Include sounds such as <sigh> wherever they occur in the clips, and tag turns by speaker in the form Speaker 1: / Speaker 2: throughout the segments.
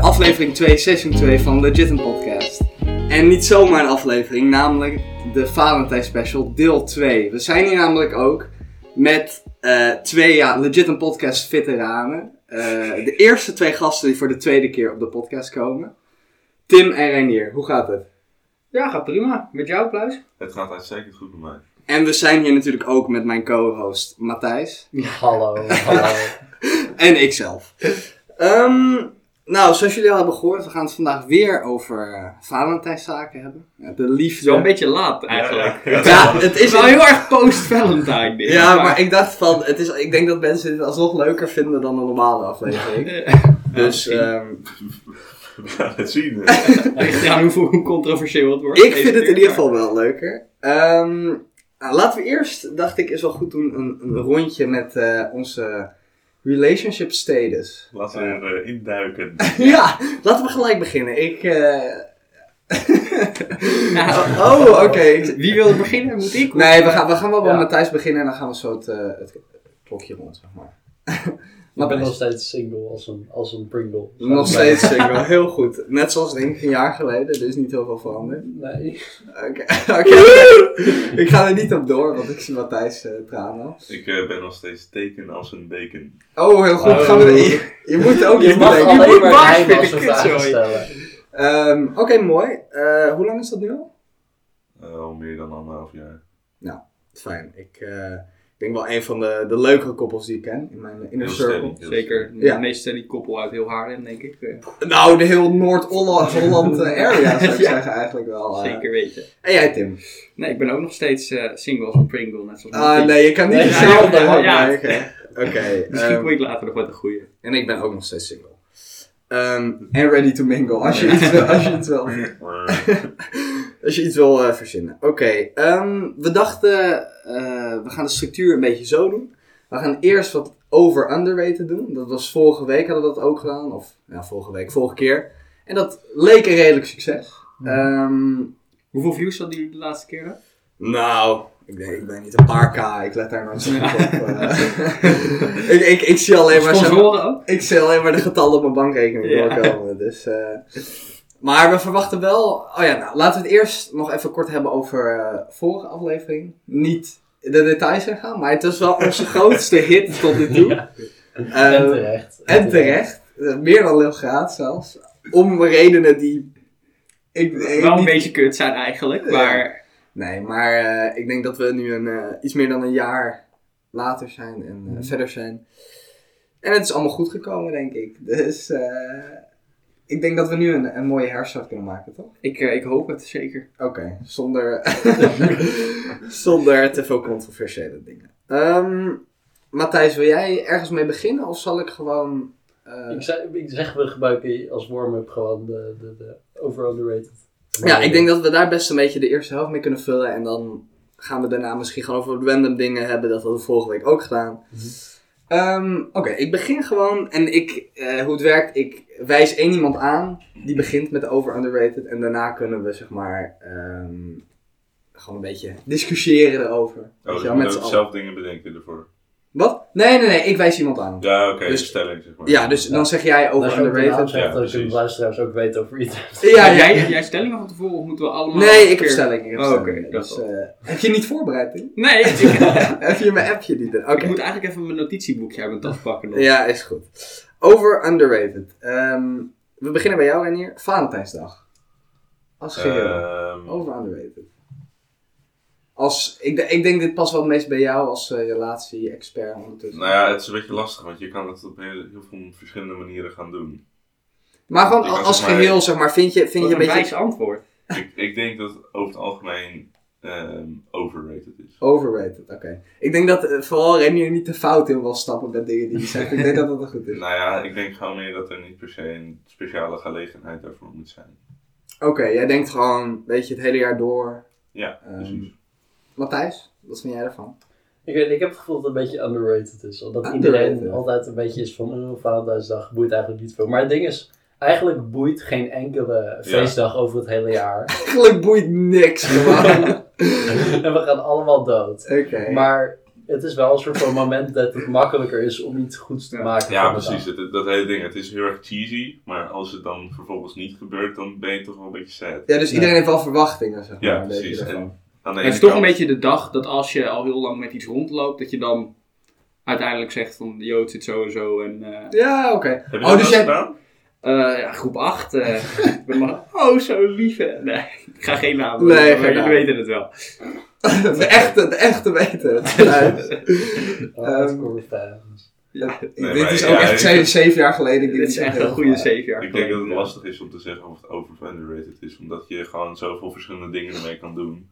Speaker 1: aflevering 2, seizoen 2 van Legit een Podcast. En niet zomaar een aflevering, namelijk de Valentijn Special, deel 2. We zijn hier namelijk ook met eh, twee ja, Legit een Podcast veteranen. Eh, de eerste twee gasten die voor de tweede keer op de podcast komen. Tim en Reinier, hoe gaat het?
Speaker 2: Ja, gaat prima. Met jou, Pluis?
Speaker 3: Het gaat uitstekend goed met mij.
Speaker 1: En we zijn hier natuurlijk ook met mijn co-host Matthijs.
Speaker 4: <laughs> Hallo, hallo.
Speaker 1: En ikzelf. Ehm, nou, zoals jullie al hebben gehoord, we gaan het vandaag weer over eh, Valentijnszaken hebben. Ja, De liefde.
Speaker 2: Zo'n beetje laat, eigenlijk.
Speaker 3: Ja, ja.
Speaker 1: Ja,
Speaker 2: <laughs>
Speaker 1: het
Speaker 2: Het is
Speaker 1: is
Speaker 2: wel heel erg post-Valentine dit.
Speaker 1: Ja,
Speaker 2: <laughs>
Speaker 1: maar ik dacht van, het is, ik denk dat mensen dit alsnog leuker vinden dan een normale aflevering. Dus ehm,
Speaker 3: <laughs> We gaan het zien. <laughs>
Speaker 2: Ligt eraan hoe, hoe controversieel het wordt.
Speaker 1: ik
Speaker 2: deze
Speaker 1: vind het in
Speaker 2: keer.
Speaker 1: ieder geval wel leuker. Ehm, nou, laten we eerst, dacht ik, is wel goed doen een, een rondje met eh, onze relationship status.
Speaker 3: Laten we er eh, induiken.
Speaker 1: Ja, laten we gelijk beginnen. Ik, eh,
Speaker 2: <laughs> Nou,
Speaker 1: oh, oké.
Speaker 2: Wie wil er beginnen? Moet ik? of-
Speaker 1: Nee, we gaan, we gaan wel bij
Speaker 4: Ja.
Speaker 1: Matthijs beginnen en dan gaan we zo het, eh, het klokje rond, zeg maar. <laughs>
Speaker 4: Ik ben
Speaker 1: Matthijs.
Speaker 4: nog steeds single als een, als een Pringle.
Speaker 1: Nog steeds single, heel goed. Net zoals denk ik een jaar geleden, er is niet heel veel veranderd.
Speaker 4: Nee.
Speaker 1: Oké, <laughs> oké. ik ga er niet op door, want ik zie Matthijs eh, tranen.
Speaker 3: Ik eh, ben nog steeds teken als een beken.
Speaker 1: Oh, heel goed.
Speaker 4: Oh.
Speaker 1: Gaan we je, je moet ook
Speaker 4: Je
Speaker 1: niet
Speaker 4: mag
Speaker 1: bedenken.
Speaker 4: alleen
Speaker 2: moet
Speaker 4: maar
Speaker 2: baas
Speaker 4: geheim als we
Speaker 2: vinden,
Speaker 4: vragen
Speaker 2: kutzooi.
Speaker 4: stellen.
Speaker 1: Ehm, Oké, mooi. Eh, hoe lang is dat nu al?
Speaker 3: Eh, al meer dan anderhalf <laughs> jaar.
Speaker 1: Fijn. Ik eh, denk wel een van de, de leukere koppels die ik ken in mijn inner
Speaker 3: Heel
Speaker 1: circle.
Speaker 3: steady, heel
Speaker 2: Zeker.
Speaker 1: Ja.
Speaker 2: De meest steady koppel uit heel Haarlem, denk ik. Eh,
Speaker 1: Nou, de heel Noord-Holland eh, area
Speaker 4: <laughs>
Speaker 1: zou ik
Speaker 2: Ja.
Speaker 1: zeggen eigenlijk wel. eh.
Speaker 2: Zeker weten.
Speaker 1: En jij Tim?
Speaker 2: Nee, ik ben ook nog steeds eh, single als een Pringle, net zoals
Speaker 1: Ah
Speaker 2: Martien.
Speaker 1: nee, je kan niet
Speaker 4: Nee,
Speaker 1: dezelfde
Speaker 2: ja,
Speaker 1: hand
Speaker 2: ja.
Speaker 1: maken. Oké.
Speaker 2: Misschien
Speaker 1: ehm,
Speaker 2: kom ik later nog wat een goeie.
Speaker 1: En ik ben ook nog steeds single. Ehm, en ready to mingle, als je iets wil, als je iets wil, <laughs>
Speaker 3: Oh,
Speaker 1: als je iets wil eh, verzinnen. Oké, ehm, we dachten, eh, we gaan de structuur een beetje zo doen. We gaan eerst wat over-underrated doen. Dat was vorige week hadden we dat ook gedaan, of ja, vorige week, vorige keer. En dat leek een redelijk succes. Ehm,
Speaker 2: Hoeveel views hadden jullie de laatste keer dan?
Speaker 1: nou, ik, denk, ik ben niet een paar k, ik let daar nooit <laughs> zo goed op. eh. ik, ik, ik zie alleen maar... zo.
Speaker 2: Sponsoren ook?
Speaker 1: Ik zie alleen maar de getallen op mijn bankrekening
Speaker 2: Ja.
Speaker 1: doorkomen. Dus, eh, maar we verwachten wel. Oh ja, nou, laten we het eerst nog even kort hebben over eh, vorige aflevering. Niet de details ingaan, maar het was wel
Speaker 2: <laughs>
Speaker 1: onze grootste hit tot nu toe.
Speaker 4: Ja.
Speaker 1: Eh,
Speaker 4: en terecht.
Speaker 1: en terecht. Eh, meer dan heel graad zelfs. Om redenen die. Ik, ik
Speaker 2: Wel een
Speaker 1: niet-
Speaker 2: beetje kut zijn eigenlijk,
Speaker 1: Ja.
Speaker 2: maar...
Speaker 1: Nee, maar eh, ik denk dat we nu een, eh, iets meer dan een jaar later zijn en eh, verder zijn. En het is allemaal goed gekomen, denk ik. Dus eh, ik denk dat we nu een, een mooie herstart kunnen maken, toch?
Speaker 2: Ik, eh, ik hoop het, zeker.
Speaker 1: Oké, zonder, zonder te veel controversiële dingen. Ehm, Matthijs, wil jij ergens mee beginnen of zal ik gewoon... eh,
Speaker 4: Ik zeg, ik zeg, we gebruiken als warm-up gewoon de, de, de over underrated.
Speaker 1: ja, ik denk dat we daar best een beetje de eerste helft mee kunnen vullen. En dan gaan we daarna misschien gewoon over random dingen hebben. Dat hadden we vorige week ook gedaan.
Speaker 4: Mhm.
Speaker 1: Ehm, Oké, ik begin gewoon. En ik, eh, hoe het werkt, ik wijs één iemand aan. Die begint met over underrated. En daarna kunnen we zeg maar ehm, gewoon een beetje discussiëren erover. Weet
Speaker 3: Oh,
Speaker 1: je
Speaker 3: dus
Speaker 1: wel,
Speaker 3: je moet
Speaker 1: met z'n
Speaker 3: ook
Speaker 1: allen.
Speaker 3: zelf dingen bedenken ervoor.
Speaker 1: Wat? Nee, nee, nee, ik wijs iemand aan. Ja,
Speaker 3: Ja, oké,
Speaker 1: Dus-
Speaker 3: een stelling zeg maar.
Speaker 1: dus dan zeg jij over
Speaker 4: Als je ook de naam
Speaker 1: underrated.
Speaker 3: Ja,
Speaker 4: zegt, dan kunnen
Speaker 3: precies.
Speaker 4: de luisteraars ook weten over iedereen.
Speaker 1: Ja,
Speaker 2: Heb
Speaker 1: ja.
Speaker 2: jij, heb jij stellingen van tevoren of moeten we allemaal...
Speaker 1: Nee, ik heb
Speaker 2: keer-
Speaker 1: stelling. ik heb
Speaker 2: Oh,
Speaker 1: stelling.
Speaker 2: oké, dat
Speaker 1: Dus,
Speaker 2: wel.
Speaker 1: eh, heb je niet voorbereid? Tim?
Speaker 2: Nee, ik,
Speaker 1: <laughs> heb je mijn appje niet? Oké.
Speaker 2: ik moet eigenlijk even mijn notitieboekje uit mijn tas pakken nog.
Speaker 1: Ja, is goed. Over underrated. Ehm, we beginnen bij jou, Renier. Valentijnsdag. Als geheel.
Speaker 3: Ehm,
Speaker 1: Over underrated. Als, ik, de- ik denk dit past wel het meest bij jou als eh, relatie-expert ondertussen.
Speaker 3: nou ja, het is een beetje lastig, want je kan het op heel, heel veel verschillende manieren gaan doen.
Speaker 1: maar gewoon
Speaker 3: ik was
Speaker 1: als, als
Speaker 3: zeg maar-
Speaker 1: geheel, zeg maar, vind je, vind
Speaker 2: Wat
Speaker 1: je een beetje
Speaker 2: wijs antwoord.
Speaker 3: ik, ik denk dat het over het algemeen ehm, overrated is.
Speaker 1: overrated. Oké. Ik denk dat eh, vooral Renier niet de fout in wil stappen met dingen die hij zegt. ik denk dat dat wel goed
Speaker 3: <laughs>
Speaker 1: is.
Speaker 3: Nou ja, ik denk gewoon meer dat er niet per se een speciale gelegenheid daarvoor moet zijn.
Speaker 1: Oké, jij denkt gewoon, weet je, het hele jaar door.
Speaker 3: Ja,
Speaker 1: Ehm,
Speaker 3: precies.
Speaker 1: Matthijs, wat vind jij daarvan?
Speaker 4: Ik, weet, ik heb het gevoel dat het een beetje underrated is. Dat
Speaker 1: Underrated.
Speaker 4: iedereen altijd een beetje is van, oh, Valentijnsdag boeit eigenlijk niet veel. Maar het ding is, eigenlijk boeit geen enkele feestdag over het hele jaar.
Speaker 3: <laughs>
Speaker 4: <laughs>
Speaker 1: Eigenlijk boeit niks, gewoon. Oké.
Speaker 4: en we gaan allemaal dood. Maar het is wel een soort van moment dat het makkelijker is om iets goeds te
Speaker 5: Ja.
Speaker 4: maken.
Speaker 3: Ja,
Speaker 4: van de
Speaker 3: precies. Dat, dat hele ding. Het is heel erg cheesy, maar als het dan vervolgens niet gebeurt, dan ben je toch wel een beetje sad.
Speaker 1: Ja, dus iedereen heeft wel verwachtingen, zeg maar.
Speaker 3: Ja,
Speaker 1: een beetje
Speaker 3: precies.
Speaker 1: daarvan.
Speaker 3: En aan de
Speaker 5: Het
Speaker 3: ene
Speaker 5: is toch een
Speaker 3: kant-
Speaker 5: beetje de dag dat als je al heel lang met iets rondloopt, dat je dan uiteindelijk zegt van, yo, het zit zo en zo. En, eh,
Speaker 1: Ja, oké. <laughs>
Speaker 3: Heb je
Speaker 1: Oh,
Speaker 3: dat
Speaker 1: dus
Speaker 3: wel
Speaker 1: jij-
Speaker 3: gedaan?
Speaker 5: eh, ja, groep 8. ik ben maar, oh, zo lief. hè. Nee, ik ga geen namen
Speaker 1: Nee,
Speaker 5: noemen,
Speaker 1: geen
Speaker 5: maar jullie
Speaker 1: namen.
Speaker 5: weten het wel.
Speaker 1: De echte, de echte weten
Speaker 3: <laughs>
Speaker 1: het. Ja,
Speaker 4: dag. Ja, het
Speaker 1: Ehm,
Speaker 4: komt, eh,
Speaker 3: Nee,
Speaker 1: dit
Speaker 3: maar
Speaker 1: is
Speaker 3: ja,
Speaker 1: ook echt
Speaker 3: ik-
Speaker 1: zeven, zeven jaar geleden.
Speaker 5: Dit is echt een goede zeven jaar
Speaker 3: Ik denk dat het
Speaker 5: geleden.
Speaker 3: lastig is om te zeggen of het over of underrated is, omdat je gewoon zoveel verschillende dingen ermee kan doen.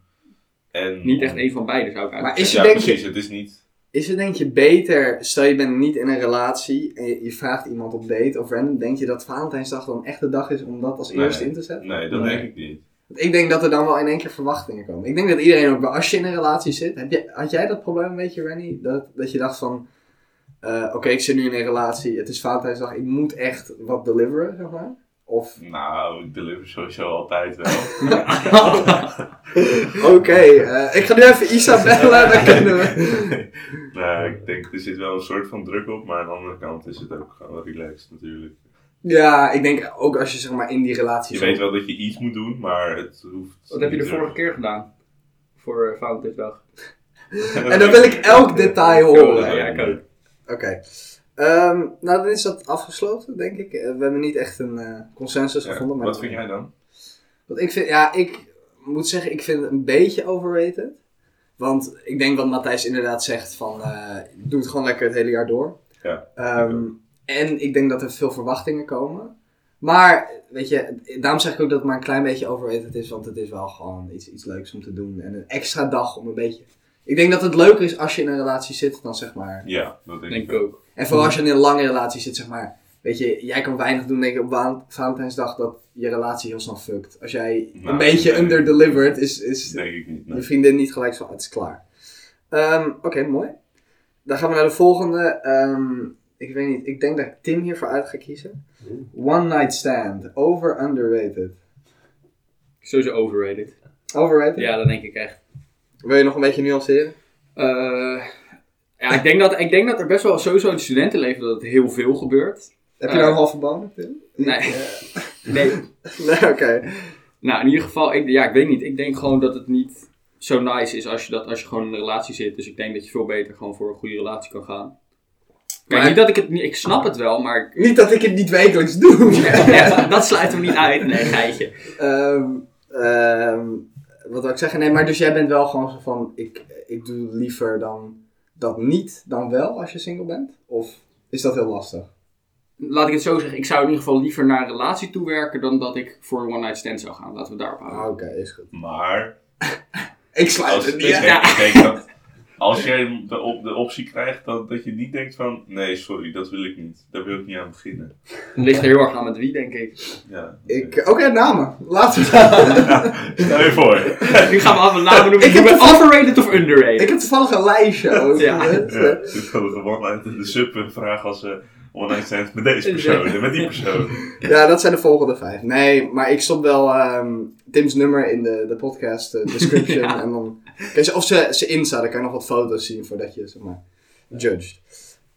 Speaker 3: En
Speaker 5: Niet echt een van beide zou ik
Speaker 1: Maar
Speaker 5: eigenlijk
Speaker 1: is
Speaker 3: Ja,
Speaker 1: het, denk
Speaker 3: precies.
Speaker 1: je,
Speaker 3: Het is niet.
Speaker 1: is het denk je beter, stel je bent niet in een relatie en je, je vraagt iemand op date of random, denk je dat Valentijnsdag dan echt de dag is om dat als
Speaker 3: Nee.
Speaker 1: eerste in te zetten?
Speaker 3: Nee, dat
Speaker 4: Nee.
Speaker 3: denk ik niet.
Speaker 1: Want ik denk dat er dan wel in één keer verwachtingen komen. Ik denk dat iedereen ook, wel- als je in een relatie zit, heb je, had jij dat probleem een beetje, Rennie? Dat, dat je dacht van, eh, oké, ik zit nu in een relatie, het is Valentijnsdag, ik moet echt wat deliveren, zeg maar. Of <laughs>
Speaker 3: <laughs> Nou, ik deliver sowieso altijd wel.
Speaker 1: Oké, eh, ik ga nu even Isa bellen, dan kunnen we.
Speaker 3: nou, ik denk er zit wel een soort van druk op, maar aan de andere kant is het ook gewoon relaxed natuurlijk.
Speaker 1: Ja, ik denk ook als je zeg maar in die relatie
Speaker 3: Je
Speaker 1: zit.
Speaker 3: weet wel dat je iets moet doen, maar het hoeft.
Speaker 5: Wat heb je de
Speaker 3: niet
Speaker 5: vorige keer gedaan? Voor eh, Valentijnsdag.
Speaker 3: erg-
Speaker 1: En dan wil ik
Speaker 3: <laughs>
Speaker 1: elk detail horen.
Speaker 5: Ja, ik ook.
Speaker 1: Oké. Ehm, nou, dan is dat afgesloten, denk ik. Eh, we hebben niet echt een eh, consensus
Speaker 3: Ja,
Speaker 1: gevonden. Maar
Speaker 3: Wat vind jij dan?
Speaker 1: Want ik vind, ja, ik moet zeggen, ik vind het een beetje overrated. Want ik denk wat Matthijs inderdaad zegt van, eh, doe het gewoon lekker het hele jaar door.
Speaker 3: Ja,
Speaker 1: Ehm, En ik denk dat er veel verwachtingen komen. Maar, weet je, daarom zeg ik ook dat het maar een klein beetje overrated is. Want het is wel gewoon iets, iets leuks om te doen. En een extra dag om een beetje... Ik denk dat het leuker is als je in een relatie zit dan zeg maar...
Speaker 3: Ja, dat denk,
Speaker 5: Denk
Speaker 3: ik
Speaker 5: ik
Speaker 3: ook.
Speaker 5: ook.
Speaker 1: En vooral als je in een lange relatie zit, zeg maar. Weet je, jij kan weinig doen, denk ik, op Val- Valentijnsdag dat je relatie heel snel fuckt. Als jij
Speaker 3: Nou,
Speaker 1: een beetje
Speaker 3: nee.
Speaker 1: underdelivered is, is
Speaker 3: Denk ik niet. nee.
Speaker 1: je vriendin niet gelijk zo, het is klaar. Ehm, Oké, mooi. Dan gaan we naar de volgende. Ehm, ik weet niet, ik denk dat ik Tim hiervoor uit ga kiezen. One Night Stand, over underrated.
Speaker 5: Sowieso overrated.
Speaker 1: Overrated?
Speaker 5: Ja, dat denk ik echt.
Speaker 1: Wil je nog een beetje nuanceren?
Speaker 5: Eh, ja, ik denk, dat, ik denk dat er best wel sowieso in het studentenleven dat het heel veel gebeurt.
Speaker 1: Heb je
Speaker 5: Eh.
Speaker 1: nou een halve baan, Tim?
Speaker 5: Nee. <laughs> nee.
Speaker 1: <laughs> Nee, oké.
Speaker 5: Nou, in ieder geval, ik, ja, ik weet niet. Ik denk gewoon dat het niet zo nice is als je, dat, als je gewoon in een relatie zit. Dus ik denk dat je veel beter gewoon voor een goede relatie kan gaan. Kijk,
Speaker 1: Maar-
Speaker 5: niet dat ik het niet... Ik snap het wel,
Speaker 1: <laughs>
Speaker 5: maar...
Speaker 1: Niet dat ik het niet wekelijks doe.
Speaker 5: Ja, dat sluit hem niet uit. Nee, geitje.
Speaker 1: Ehm, ehm, wat wil ik zeggen? Nee, maar dus jij bent wel gewoon zo van, ik, ik doe liever dan dat niet dan wel als je single bent? Of is dat heel lastig?
Speaker 5: Laat ik het zo zeggen. Ik zou in ieder geval liever naar een relatie toewerken dan dat ik voor een one-night stand zou gaan. Laten we daarop houden.
Speaker 1: Ah, Oké, is goed.
Speaker 3: Maar
Speaker 1: Ik sluit
Speaker 3: als,
Speaker 1: het
Speaker 3: ik,
Speaker 1: niet. uit.
Speaker 3: denk, ik denk dat als jij de, op, de optie krijgt, dat, dat je niet denkt van nee, sorry, dat wil ik niet. Daar wil ik niet aan beginnen.
Speaker 5: Het ligt er heel erg aan met wie, denk ik.
Speaker 3: Ja,
Speaker 1: Ik, eh, Oké, namen. Laten we
Speaker 3: Stel je
Speaker 1: <laughs>
Speaker 3: voor.
Speaker 5: Nu gaan we allemaal namen noemen.
Speaker 1: Ik
Speaker 5: Ik
Speaker 1: heb
Speaker 5: ben
Speaker 1: toevallig-
Speaker 5: overrated of underrated?
Speaker 1: Ik heb toevallig een lijstje ook.
Speaker 5: Ja.
Speaker 1: weet
Speaker 3: Ja,
Speaker 1: je.
Speaker 3: dus hadden we gewoon uit de sub een vraag als eh one night stand met deze persoon en met die persoon.
Speaker 1: Ja, dat zijn de volgende vijf. Nee, maar ik stop wel ehm, Tim's nummer in de, de podcast eh, description. En dan, Kijk, of ze, ze insta, dan kan je nog wat foto's zien voordat je, zeg maar, judged.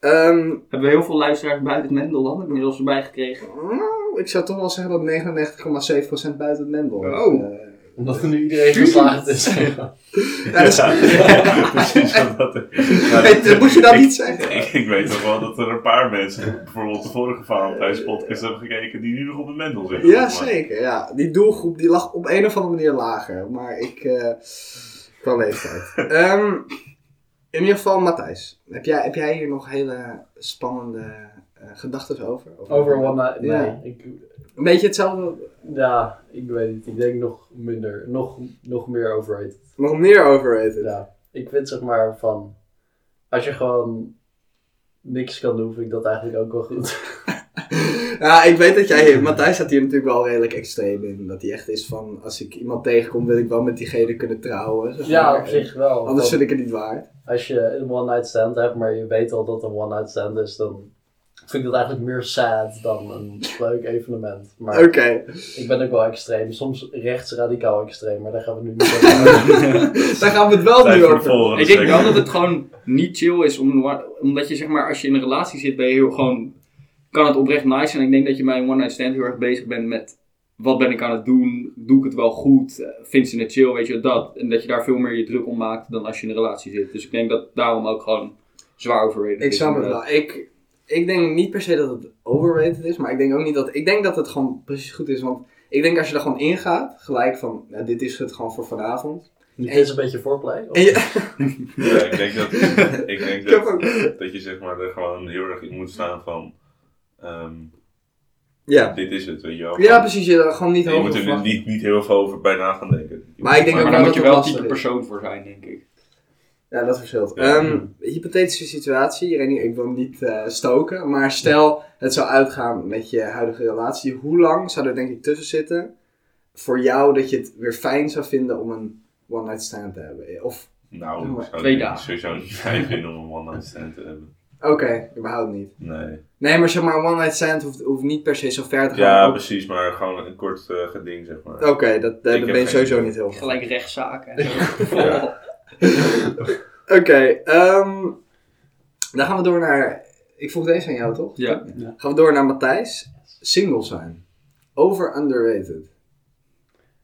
Speaker 1: Ehm,
Speaker 5: Hebben we heel veel luisteraars buiten het Mendelland inmiddels erbij gekregen.
Speaker 1: Nou, ik zou toch wel zeggen dat 99,7% buiten het Mendel is.
Speaker 5: Oh.
Speaker 1: Eh,
Speaker 4: Omdat er nu iedereen geslaagd is.
Speaker 1: ja, dat is-
Speaker 3: Ja, <laughs> precies. wat Dat, er-
Speaker 1: <laughs>
Speaker 3: Ja,
Speaker 1: Hey, dat moet je dan
Speaker 3: ik- <laughs>
Speaker 1: niet zeggen.
Speaker 3: Ik, ik weet nog wel dat er een paar mensen, bijvoorbeeld de vorige Valentijns podcast, hebben gekeken die nu nog op de mendel zitten.
Speaker 1: Ja,
Speaker 3: Maar-
Speaker 1: zeker. Ja. Die doelgroep die lag op een of andere manier lager. Maar ik... eh qua leeftijd. Ehm, in ieder geval, Matthijs. Heb jij, heb jij hier nog hele spannende eh, gedachten over? Over,
Speaker 4: <laughs> Over One Night.
Speaker 1: Ja.
Speaker 4: Nee, ik,
Speaker 1: Een beetje hetzelfde.
Speaker 4: ja, ik weet niet. Ik denk nog minder. Nog, nog meer overrated.
Speaker 1: Nog meer overrated.
Speaker 4: Ja. Ik vind zeg maar van. Als je gewoon niks kan doen, vind ik dat eigenlijk ook wel goed.
Speaker 1: <laughs> Ja, ik weet dat jij hier, Matthijs staat hier natuurlijk wel redelijk extreem in. Dat hij echt is van, als ik iemand tegenkom, wil ik wel met diegene kunnen trouwen. zeg maar.
Speaker 4: Ja, op zich wel.
Speaker 1: Anders
Speaker 4: Van,
Speaker 1: vind ik het niet waard.
Speaker 4: Als je een one night stand hebt, maar je weet al dat het een one night stand is, dan vind ik dat eigenlijk meer sad dan een leuk evenement. Maar
Speaker 1: Oké.
Speaker 4: ik ben ook wel extreem. Soms rechtsradicaal extreem, maar daar gaan we
Speaker 1: <laughs>
Speaker 4: nu niet over.
Speaker 1: Daar gaan we het wel
Speaker 3: Tijd
Speaker 1: nu
Speaker 3: voor de
Speaker 1: over.
Speaker 3: volgende
Speaker 2: Ik denk wel
Speaker 3: segment.
Speaker 2: dat het gewoon niet chill is, om, omdat je zeg maar, als je in een relatie zit, ben je heel gewoon, kan het oprecht nice zijn. Ik denk dat je bij een one-night stand heel erg bezig bent met, wat ben ik aan het doen, doe ik het wel goed, Eh, vindt ze het chill, weet je, dat. En dat je daar veel meer je druk om maakt dan als je in een relatie zit. Dus ik denk dat daarom ook gewoon zwaar overrated
Speaker 1: Ik
Speaker 2: is.
Speaker 1: zou het
Speaker 2: inderdaad.
Speaker 1: wel. Ik, ik denk niet per se dat het overrated is, maar ik denk ook niet dat. Ik denk dat het gewoon precies goed is. Want ik denk als je er gewoon ingaat, gelijk van nou, dit is het gewoon voor vanavond.
Speaker 4: Dit is een beetje voorplay.
Speaker 1: En
Speaker 4: of-
Speaker 1: je,
Speaker 3: Ja, ik denk dat, ik denk
Speaker 1: <laughs> Ik heb
Speaker 3: dat, dat je zeg maar er gewoon heel erg in moet staan van... ehm,
Speaker 1: ja.
Speaker 3: Dit is het, weet je wel.
Speaker 1: ja, precies. Je, gewoon niet
Speaker 3: En je
Speaker 1: hoog
Speaker 3: moet er
Speaker 1: verwacht.
Speaker 3: niet, niet heel veel over bij na gaan denken.
Speaker 1: Maar ik denk
Speaker 2: Maar
Speaker 1: ook
Speaker 2: daar
Speaker 1: wel
Speaker 2: moet
Speaker 1: dat
Speaker 2: je
Speaker 1: het
Speaker 2: wel het
Speaker 1: lastig
Speaker 2: type
Speaker 1: is.
Speaker 2: persoon voor zijn, denk ik.
Speaker 1: Ja, dat verschilt.
Speaker 3: Ja.
Speaker 1: Ehm, hypothetische situatie, Renier, ik wil hem niet eh, stoken, maar stel het zou uitgaan met je huidige relatie, hoe lang zou er denk ik tussen zitten voor jou dat je het weer fijn zou vinden om een one night stand te hebben? Of,
Speaker 3: Nou, ik zou
Speaker 2: Twee
Speaker 3: het
Speaker 2: dagen.
Speaker 3: sowieso niet <laughs> fijn vinden om een one-night stand te hebben.
Speaker 1: oké, überhaupt niet.
Speaker 3: Nee.
Speaker 1: Nee, maar zeg maar, een one night stand hoeft, hoeft niet per se zo ver te gaan.
Speaker 3: Ja,
Speaker 1: Ook-
Speaker 3: precies, maar gewoon een kort eh, geding, zeg maar.
Speaker 1: Oké, dat, daar
Speaker 3: Ik heb
Speaker 1: ben je
Speaker 3: geen
Speaker 1: sowieso
Speaker 3: idee.
Speaker 1: niet heel van.
Speaker 2: Gelijk <laughs> rechtszaken.
Speaker 3: Ja.
Speaker 1: <laughs> Oké, ehm, dan gaan we door naar, ik vroeg deze aan jou toch?
Speaker 2: Ja.
Speaker 1: Gaan we door naar Matthijs. Single zijn. Over underrated.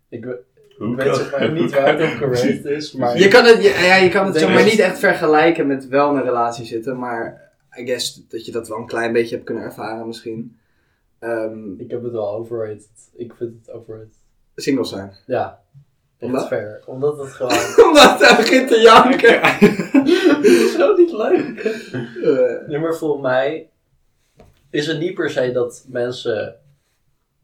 Speaker 4: Ik, we-
Speaker 3: Hoe
Speaker 4: ik weet zeg maar niet waar het op gerate is, maar...
Speaker 1: Je kan het, ja, ja, je kan het
Speaker 4: Denk
Speaker 1: zeg maar
Speaker 4: ik.
Speaker 1: niet echt vergelijken met wel in een relatie zitten, maar I guess dat je dat wel een klein beetje hebt kunnen ervaren misschien. Ehm,
Speaker 4: Ik heb het wel overrated. Ik vind het overrated.
Speaker 1: single zijn.
Speaker 4: Ja.
Speaker 1: Omdat?
Speaker 4: Echt fair. Omdat het gewoon...
Speaker 1: <laughs> Omdat hij begint te janken.
Speaker 4: Zo niet leuk.
Speaker 1: <laughs> Eh,
Speaker 4: Nee, maar volgens mij is het niet per se dat mensen...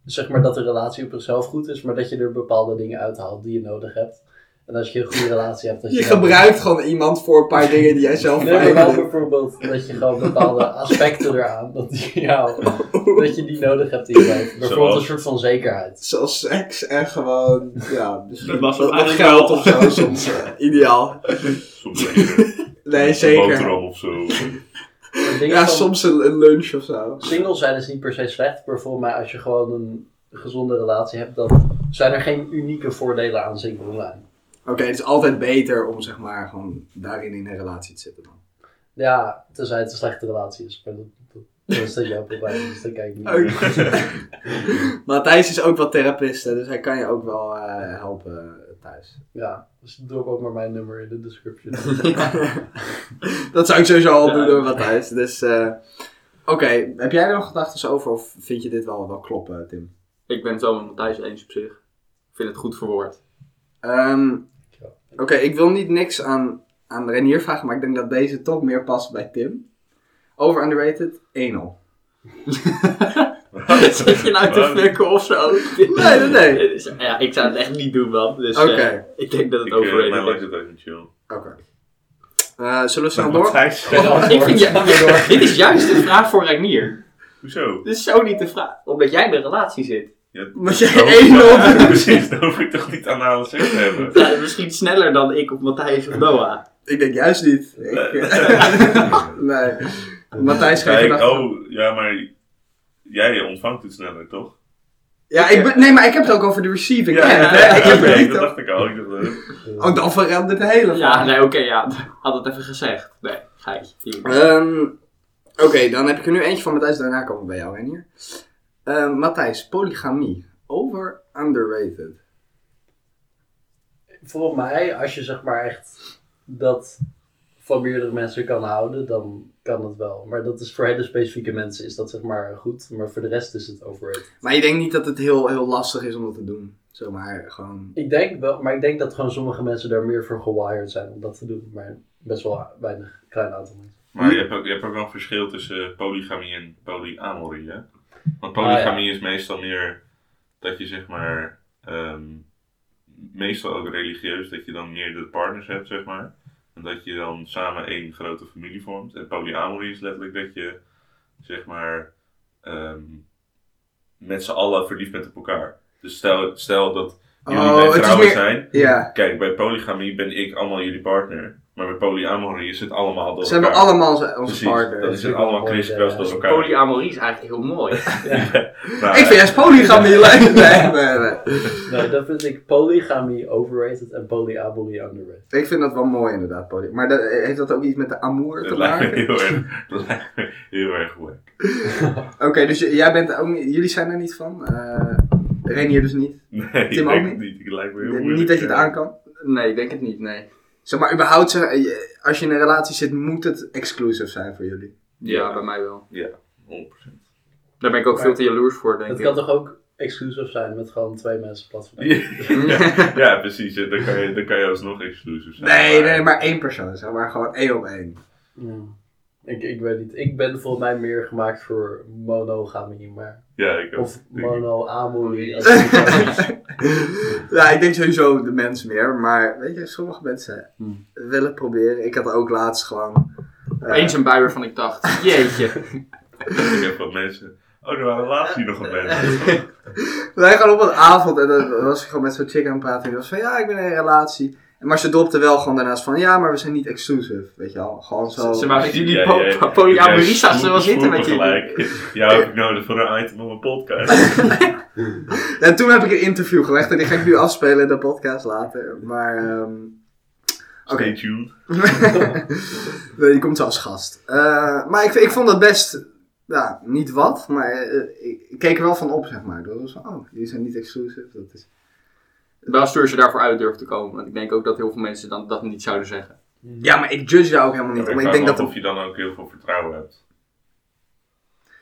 Speaker 4: Zeg maar dat de relatie op zichzelf goed is, maar dat je er bepaalde dingen uithaalt die je nodig hebt. En als je een goede relatie hebt... Dat
Speaker 1: je
Speaker 4: dan-
Speaker 1: gebruikt gewoon iemand voor een paar dingen die jij zelf
Speaker 4: Nee,
Speaker 1: fijn
Speaker 4: maar wel
Speaker 1: vindt.
Speaker 4: bijvoorbeeld dat je gewoon
Speaker 1: <laughs>
Speaker 4: bepaalde aspecten eraan, dat, die jou,
Speaker 1: Oh.
Speaker 4: <laughs> dat je die nodig hebt in je leven. Bijvoorbeeld
Speaker 3: Zoals?
Speaker 4: een soort van zekerheid.
Speaker 1: Zoals seks en gewoon,
Speaker 4: <laughs>
Speaker 1: ja, dus misschien
Speaker 2: Dat was hem
Speaker 1: wat
Speaker 2: eigenlijk
Speaker 1: geld
Speaker 2: wel.
Speaker 1: of zo
Speaker 2: <laughs>
Speaker 1: soms. eh, ideaal.
Speaker 3: Soms even
Speaker 1: Nee,
Speaker 3: Een
Speaker 1: zeker.
Speaker 3: boterham of zo. <laughs>
Speaker 4: Maar dingen
Speaker 1: Ja,
Speaker 4: van
Speaker 1: soms een, een lunch of zo.
Speaker 4: Single zijn is niet per se slecht, maar volgens mij als je gewoon een gezonde relatie hebt, dan zijn er geen unieke voordelen aan single zijn.
Speaker 1: Oké, het is altijd beter om zeg maar gewoon daarin in een relatie te zitten dan.
Speaker 4: Ja, tenzij het een slechte relatie is, maar dat, dat, dat is dat jouw probleem, dus daar kijk ik niet naar.
Speaker 1: Matthijs is ook wel therapist, hè, dus hij kan je ook wel eh, helpen thuis.
Speaker 4: Ja, dus drop ook maar mijn nummer in
Speaker 2: <laughs>
Speaker 4: de description.
Speaker 1: <laughs> Dat zou ik sowieso al
Speaker 4: Ja.
Speaker 1: doen door Matthijs. Dus, eh, oké, heb jij er nog gedachten over of vind je dit wel, wel kloppen, Tim?
Speaker 2: Ik ben het wel met Matthijs eens op zich. Ik vind het goed
Speaker 1: <laughs>
Speaker 2: verwoord.
Speaker 1: Ehm,
Speaker 4: Ja.
Speaker 1: Oké, ik wil niet niks aan, aan Renier vragen, maar ik denk dat deze toch meer past bij Tim. Over underrated, 1-0. Nee,
Speaker 2: Zit je nou te
Speaker 3: Waarom?
Speaker 2: fucken of zo? Dus,
Speaker 1: nee,
Speaker 2: <laughs>
Speaker 1: nee.
Speaker 2: Ja, ik zou het echt niet doen, man. Dus
Speaker 1: Oké,
Speaker 2: eh, ik denk dat
Speaker 3: Ik,
Speaker 2: het
Speaker 3: eh, mij
Speaker 2: overrated
Speaker 3: lijkt
Speaker 2: is.
Speaker 3: het ook niet chill.
Speaker 1: oké. Eh, zullen we snel
Speaker 3: Maar
Speaker 1: door?
Speaker 3: Matthijs-
Speaker 4: Ja.
Speaker 2: Ik vind, ja, <laughs> dit is juist de vraag voor Reinier.
Speaker 3: Hoezo?
Speaker 2: Dit is zo niet de vraag. Omdat jij in een relatie zit.
Speaker 3: Ja,
Speaker 1: Moet
Speaker 3: <laughs>
Speaker 1: jij
Speaker 3: daarover-
Speaker 1: 1-0 doen?
Speaker 3: Precies, daar hoef ik toch niet aan aan seks te hebben.
Speaker 2: Ja, misschien sneller dan ik of Matthijs of Noah.
Speaker 1: <laughs> Ik denk juist niet.
Speaker 3: <laughs>
Speaker 1: Ik, nee. Matthijs, geen
Speaker 3: Kijk,
Speaker 1: gedachten.
Speaker 3: oh, ja, maar jij ontvangt het sneller, toch?
Speaker 1: Ja, ik ben, nee, maar ik heb het ook over de receiving.
Speaker 3: Ja,
Speaker 1: end,
Speaker 3: ja,
Speaker 1: hè. <laughs> ik heb het niet
Speaker 3: dat
Speaker 1: over-
Speaker 3: dacht ik al. Ik dacht, eh,
Speaker 1: Oh, dan verandert het hele
Speaker 2: Ja,
Speaker 1: verhaal.
Speaker 2: nee, oké, ja. Had het even gezegd. Nee, geitje. Hier.
Speaker 1: Ehm, Oké, dan heb ik er nu eentje van Matthijs. Daarna komen we bij jou, Renier. Ehm Matthijs, polygamie. Over underrated.
Speaker 4: Volgens mij, als je zeg maar echt dat van meerdere mensen kan houden, dan kan dat wel. Maar dat is voor hele specifieke mensen is dat zeg maar goed, maar voor de rest is het overrated.
Speaker 1: Maar je denkt niet dat het heel, heel lastig is om dat te doen. Zomaar gewoon...
Speaker 4: Ik denk wel, maar ik denk dat gewoon sommige mensen daar meer voor gewired zijn om dat te doen. Maar best wel weinig, klein aantal mensen.
Speaker 1: Hm?
Speaker 3: Maar je hebt, ook, je hebt ook wel een verschil tussen polygamie en polyamorie, hè? Want
Speaker 1: Ah,
Speaker 3: polygamie is meestal meer dat je zeg maar, ehm, meestal ook religieus, dat je dan meerdere partners hebt, zeg maar. En dat je dan samen één grote familie vormt. En polyamorie is letterlijk dat je, zeg maar, ehm, met z'n allen verliefd bent op elkaar. Dus stel, stel dat jullie
Speaker 1: Oh,
Speaker 3: mijn
Speaker 1: het is
Speaker 3: vrouwen
Speaker 1: meer-
Speaker 3: zijn.
Speaker 1: Ja,
Speaker 3: Kijk, bij polygamie ben ik allemaal jullie partner. Maar bij polyamorie is het allemaal door
Speaker 1: Ze hebben
Speaker 3: elkaar.
Speaker 1: allemaal onze, onze
Speaker 3: Precies,
Speaker 1: partner.
Speaker 3: dat is het
Speaker 4: natuurlijk
Speaker 3: allemaal
Speaker 4: wel mooi,
Speaker 3: kriskras
Speaker 4: eh,
Speaker 3: door elkaar. <laughs>
Speaker 2: Polyamorie is eigenlijk heel mooi.
Speaker 3: Nou,
Speaker 1: Ik vind juist polygamie leuk. Nee, nee, nee.
Speaker 4: Nee, dat vind ik polygamie overrated en polyamorie underrated.
Speaker 1: Ik vind dat wel mooi inderdaad, poly. Maar dat, heeft dat ook iets met de amour te
Speaker 3: Het lijkt me
Speaker 1: maken?
Speaker 3: heel erg, het lijkt me heel erg goed.
Speaker 1: <laughs> Oké, dus j- jij bent ook, niet- jullie zijn er niet van? Eh Renier dus niet?
Speaker 3: Nee,
Speaker 1: Tim ook
Speaker 3: ik denk
Speaker 1: niet?
Speaker 3: het niet. Het lijkt me heel moeilijk.
Speaker 1: Niet dat je het
Speaker 3: eh.
Speaker 1: aan kan?
Speaker 2: <laughs> Nee, ik denk het niet, nee.
Speaker 1: Zeg maar, überhaupt, zeg, eh, je- als je in een relatie zit, moet het exclusief zijn voor jullie.
Speaker 2: Ja,
Speaker 3: Ja.
Speaker 2: bij mij wel.
Speaker 3: 100%.
Speaker 2: Daar ben ik ook
Speaker 4: Maar-
Speaker 2: veel te jaloers voor,
Speaker 3: <laughs>
Speaker 2: denk
Speaker 4: Het
Speaker 2: ik.
Speaker 4: kan toch ook exclusief zijn met gewoon twee mensen platform?
Speaker 3: Ja, <laughs> ja, precies. ja, Dan kan, je, dan kan je alsnog exclusief zijn.
Speaker 1: Nee, nee, maar één persoon, zeg maar, gewoon één op
Speaker 2: <laughs>
Speaker 1: één.
Speaker 4: Ja. Ik, ik weet niet. Ik ben volgens mij meer gemaakt voor monogamie, maar...
Speaker 3: Ja, ik ook.
Speaker 4: Of monoamorie.
Speaker 3: <laughs>
Speaker 1: ja, ik denk sowieso de mens meer, maar weet je, sommige mensen
Speaker 4: Hmm.
Speaker 1: willen proberen. Ik had ook laatst gewoon. eh,
Speaker 2: Eens een bui waarvan ik dacht, <laughs> jeetje.
Speaker 3: Ik heb wat mensen... Oh, er waren laatst hier nog wat
Speaker 1: <laughs>
Speaker 3: mensen.
Speaker 1: Wij gaan op een avond en dan was ik gewoon met zo'n chick aan het praten. En die was van ja, ik ben in een relatie. Maar ze dropte wel gewoon daarnaast van ja, maar we zijn niet exclusief. Weet je al, gewoon zo.
Speaker 2: Ze waren
Speaker 3: Ja,
Speaker 2: jullie
Speaker 3: ja, ja.
Speaker 2: po- polyamorie
Speaker 3: Ja,
Speaker 2: zaten ze wel
Speaker 3: snoepen
Speaker 2: zitten met jullie.
Speaker 3: gelijk. Jou heb ik nodig voor een item op een podcast.
Speaker 1: En toen heb ik een interview gelegd en die ga ik nu afspelen in de podcast later. Maar ehm, oké,
Speaker 3: Stay tuned.
Speaker 1: <laughs> Nee, die komt zo als gast. Eh, maar ik, ik vond dat best, ja, niet wat, maar eh, ik, ik keek er wel van op, zeg maar. Dat was van, oh, jullie zijn niet exclusief. Dat is...
Speaker 2: Wel stuur ze daarvoor uit durven te komen. Want ik denk ook dat heel veel mensen dan dat niet zouden zeggen.
Speaker 1: Ja, maar ik judge jou ook helemaal niet.
Speaker 3: ik
Speaker 1: maar ik
Speaker 3: vraag
Speaker 1: denk
Speaker 3: me af
Speaker 1: dat
Speaker 3: of je dan ook heel veel vertrouwen hebt.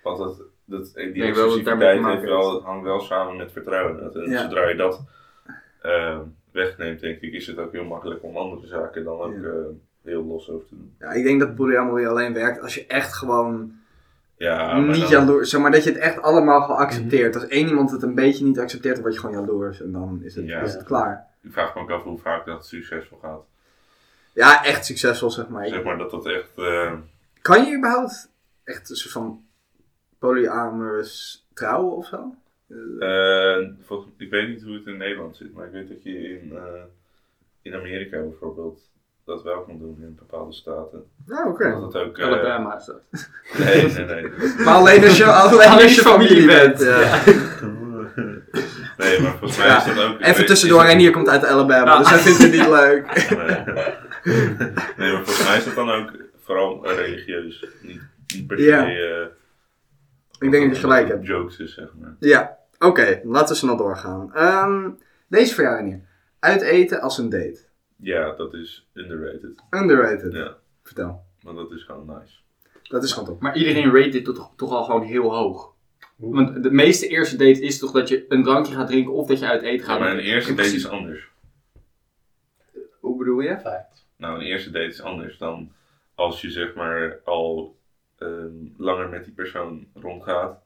Speaker 3: Want dat, dat, die
Speaker 2: denk wel dat het daarmee te
Speaker 3: exclusiviteit
Speaker 2: maken
Speaker 3: heeft wel, hangt wel samen met vertrouwen. Dat- en
Speaker 1: Ja.
Speaker 3: Zodra je dat ehm, wegneemt, denk ik, is het ook heel makkelijk om andere zaken dan ook
Speaker 1: Ja.
Speaker 3: eh, heel los over te doen.
Speaker 1: Ja, ik denk dat polyamorie alleen werkt als je echt gewoon
Speaker 3: Ja, maar
Speaker 1: niet
Speaker 3: dan-
Speaker 1: jaloers... Zeg maar dat je het echt allemaal gewoon accepteert. Als één iemand het een beetje niet accepteert, dan word je gewoon jaloers. En dan is het,
Speaker 3: Ja.
Speaker 1: is het klaar.
Speaker 3: Ik vraag me ook af hoe vaak dat succesvol gaat.
Speaker 1: Ja, echt succesvol, zeg maar.
Speaker 3: Zeg maar dat dat echt... eh,
Speaker 1: Kan je überhaupt echt een soort van polyamorous trouwen of zo?
Speaker 3: Eh, volgens- ik weet niet hoe het in Nederland zit, maar ik weet dat je in, eh, in Amerika bijvoorbeeld dat wel kan doen in bepaalde staten.
Speaker 1: Ja, Nou, oké.
Speaker 3: Omdat dat ook. eh,
Speaker 2: Alabama is dat.
Speaker 3: nee, nee, nee.
Speaker 1: Maar alleen als <laughs> je, alleen als je familie bent. ja.
Speaker 3: nee, maar volgens mij
Speaker 1: Ja,
Speaker 3: is dat ook.
Speaker 1: Even tussendoor, en hier komt uit Alabama, dus hij vindt het <laughs> niet leuk.
Speaker 3: eh, nee, maar volgens mij is dat dan ook vooral religieus. Niet, niet per se.
Speaker 1: Ja.
Speaker 3: eh,
Speaker 1: Ik denk dat je gelijk hebt.
Speaker 3: Jokes is, zeg maar.
Speaker 1: Ja, oké, laten we snel doorgaan. Ehm, deze voor jou, Renier. Uit eten als een date.
Speaker 3: Ja, dat is underrated.
Speaker 1: Underrated.
Speaker 3: Ja,
Speaker 1: Vertel.
Speaker 3: want dat is gewoon nice.
Speaker 1: Dat is gewoon top.
Speaker 2: Maar iedereen rate dit toch, toch al gewoon heel hoog. Want de meeste eerste date is toch dat je een drankje gaat drinken of dat je uit eten gaat.
Speaker 3: maar een eerste
Speaker 2: In
Speaker 3: date is
Speaker 2: principe-
Speaker 3: anders.
Speaker 2: Hoe bedoel je?
Speaker 4: Fact.
Speaker 3: Nou, een eerste date is anders dan als je zeg maar al ehm, langer met die persoon rondgaat.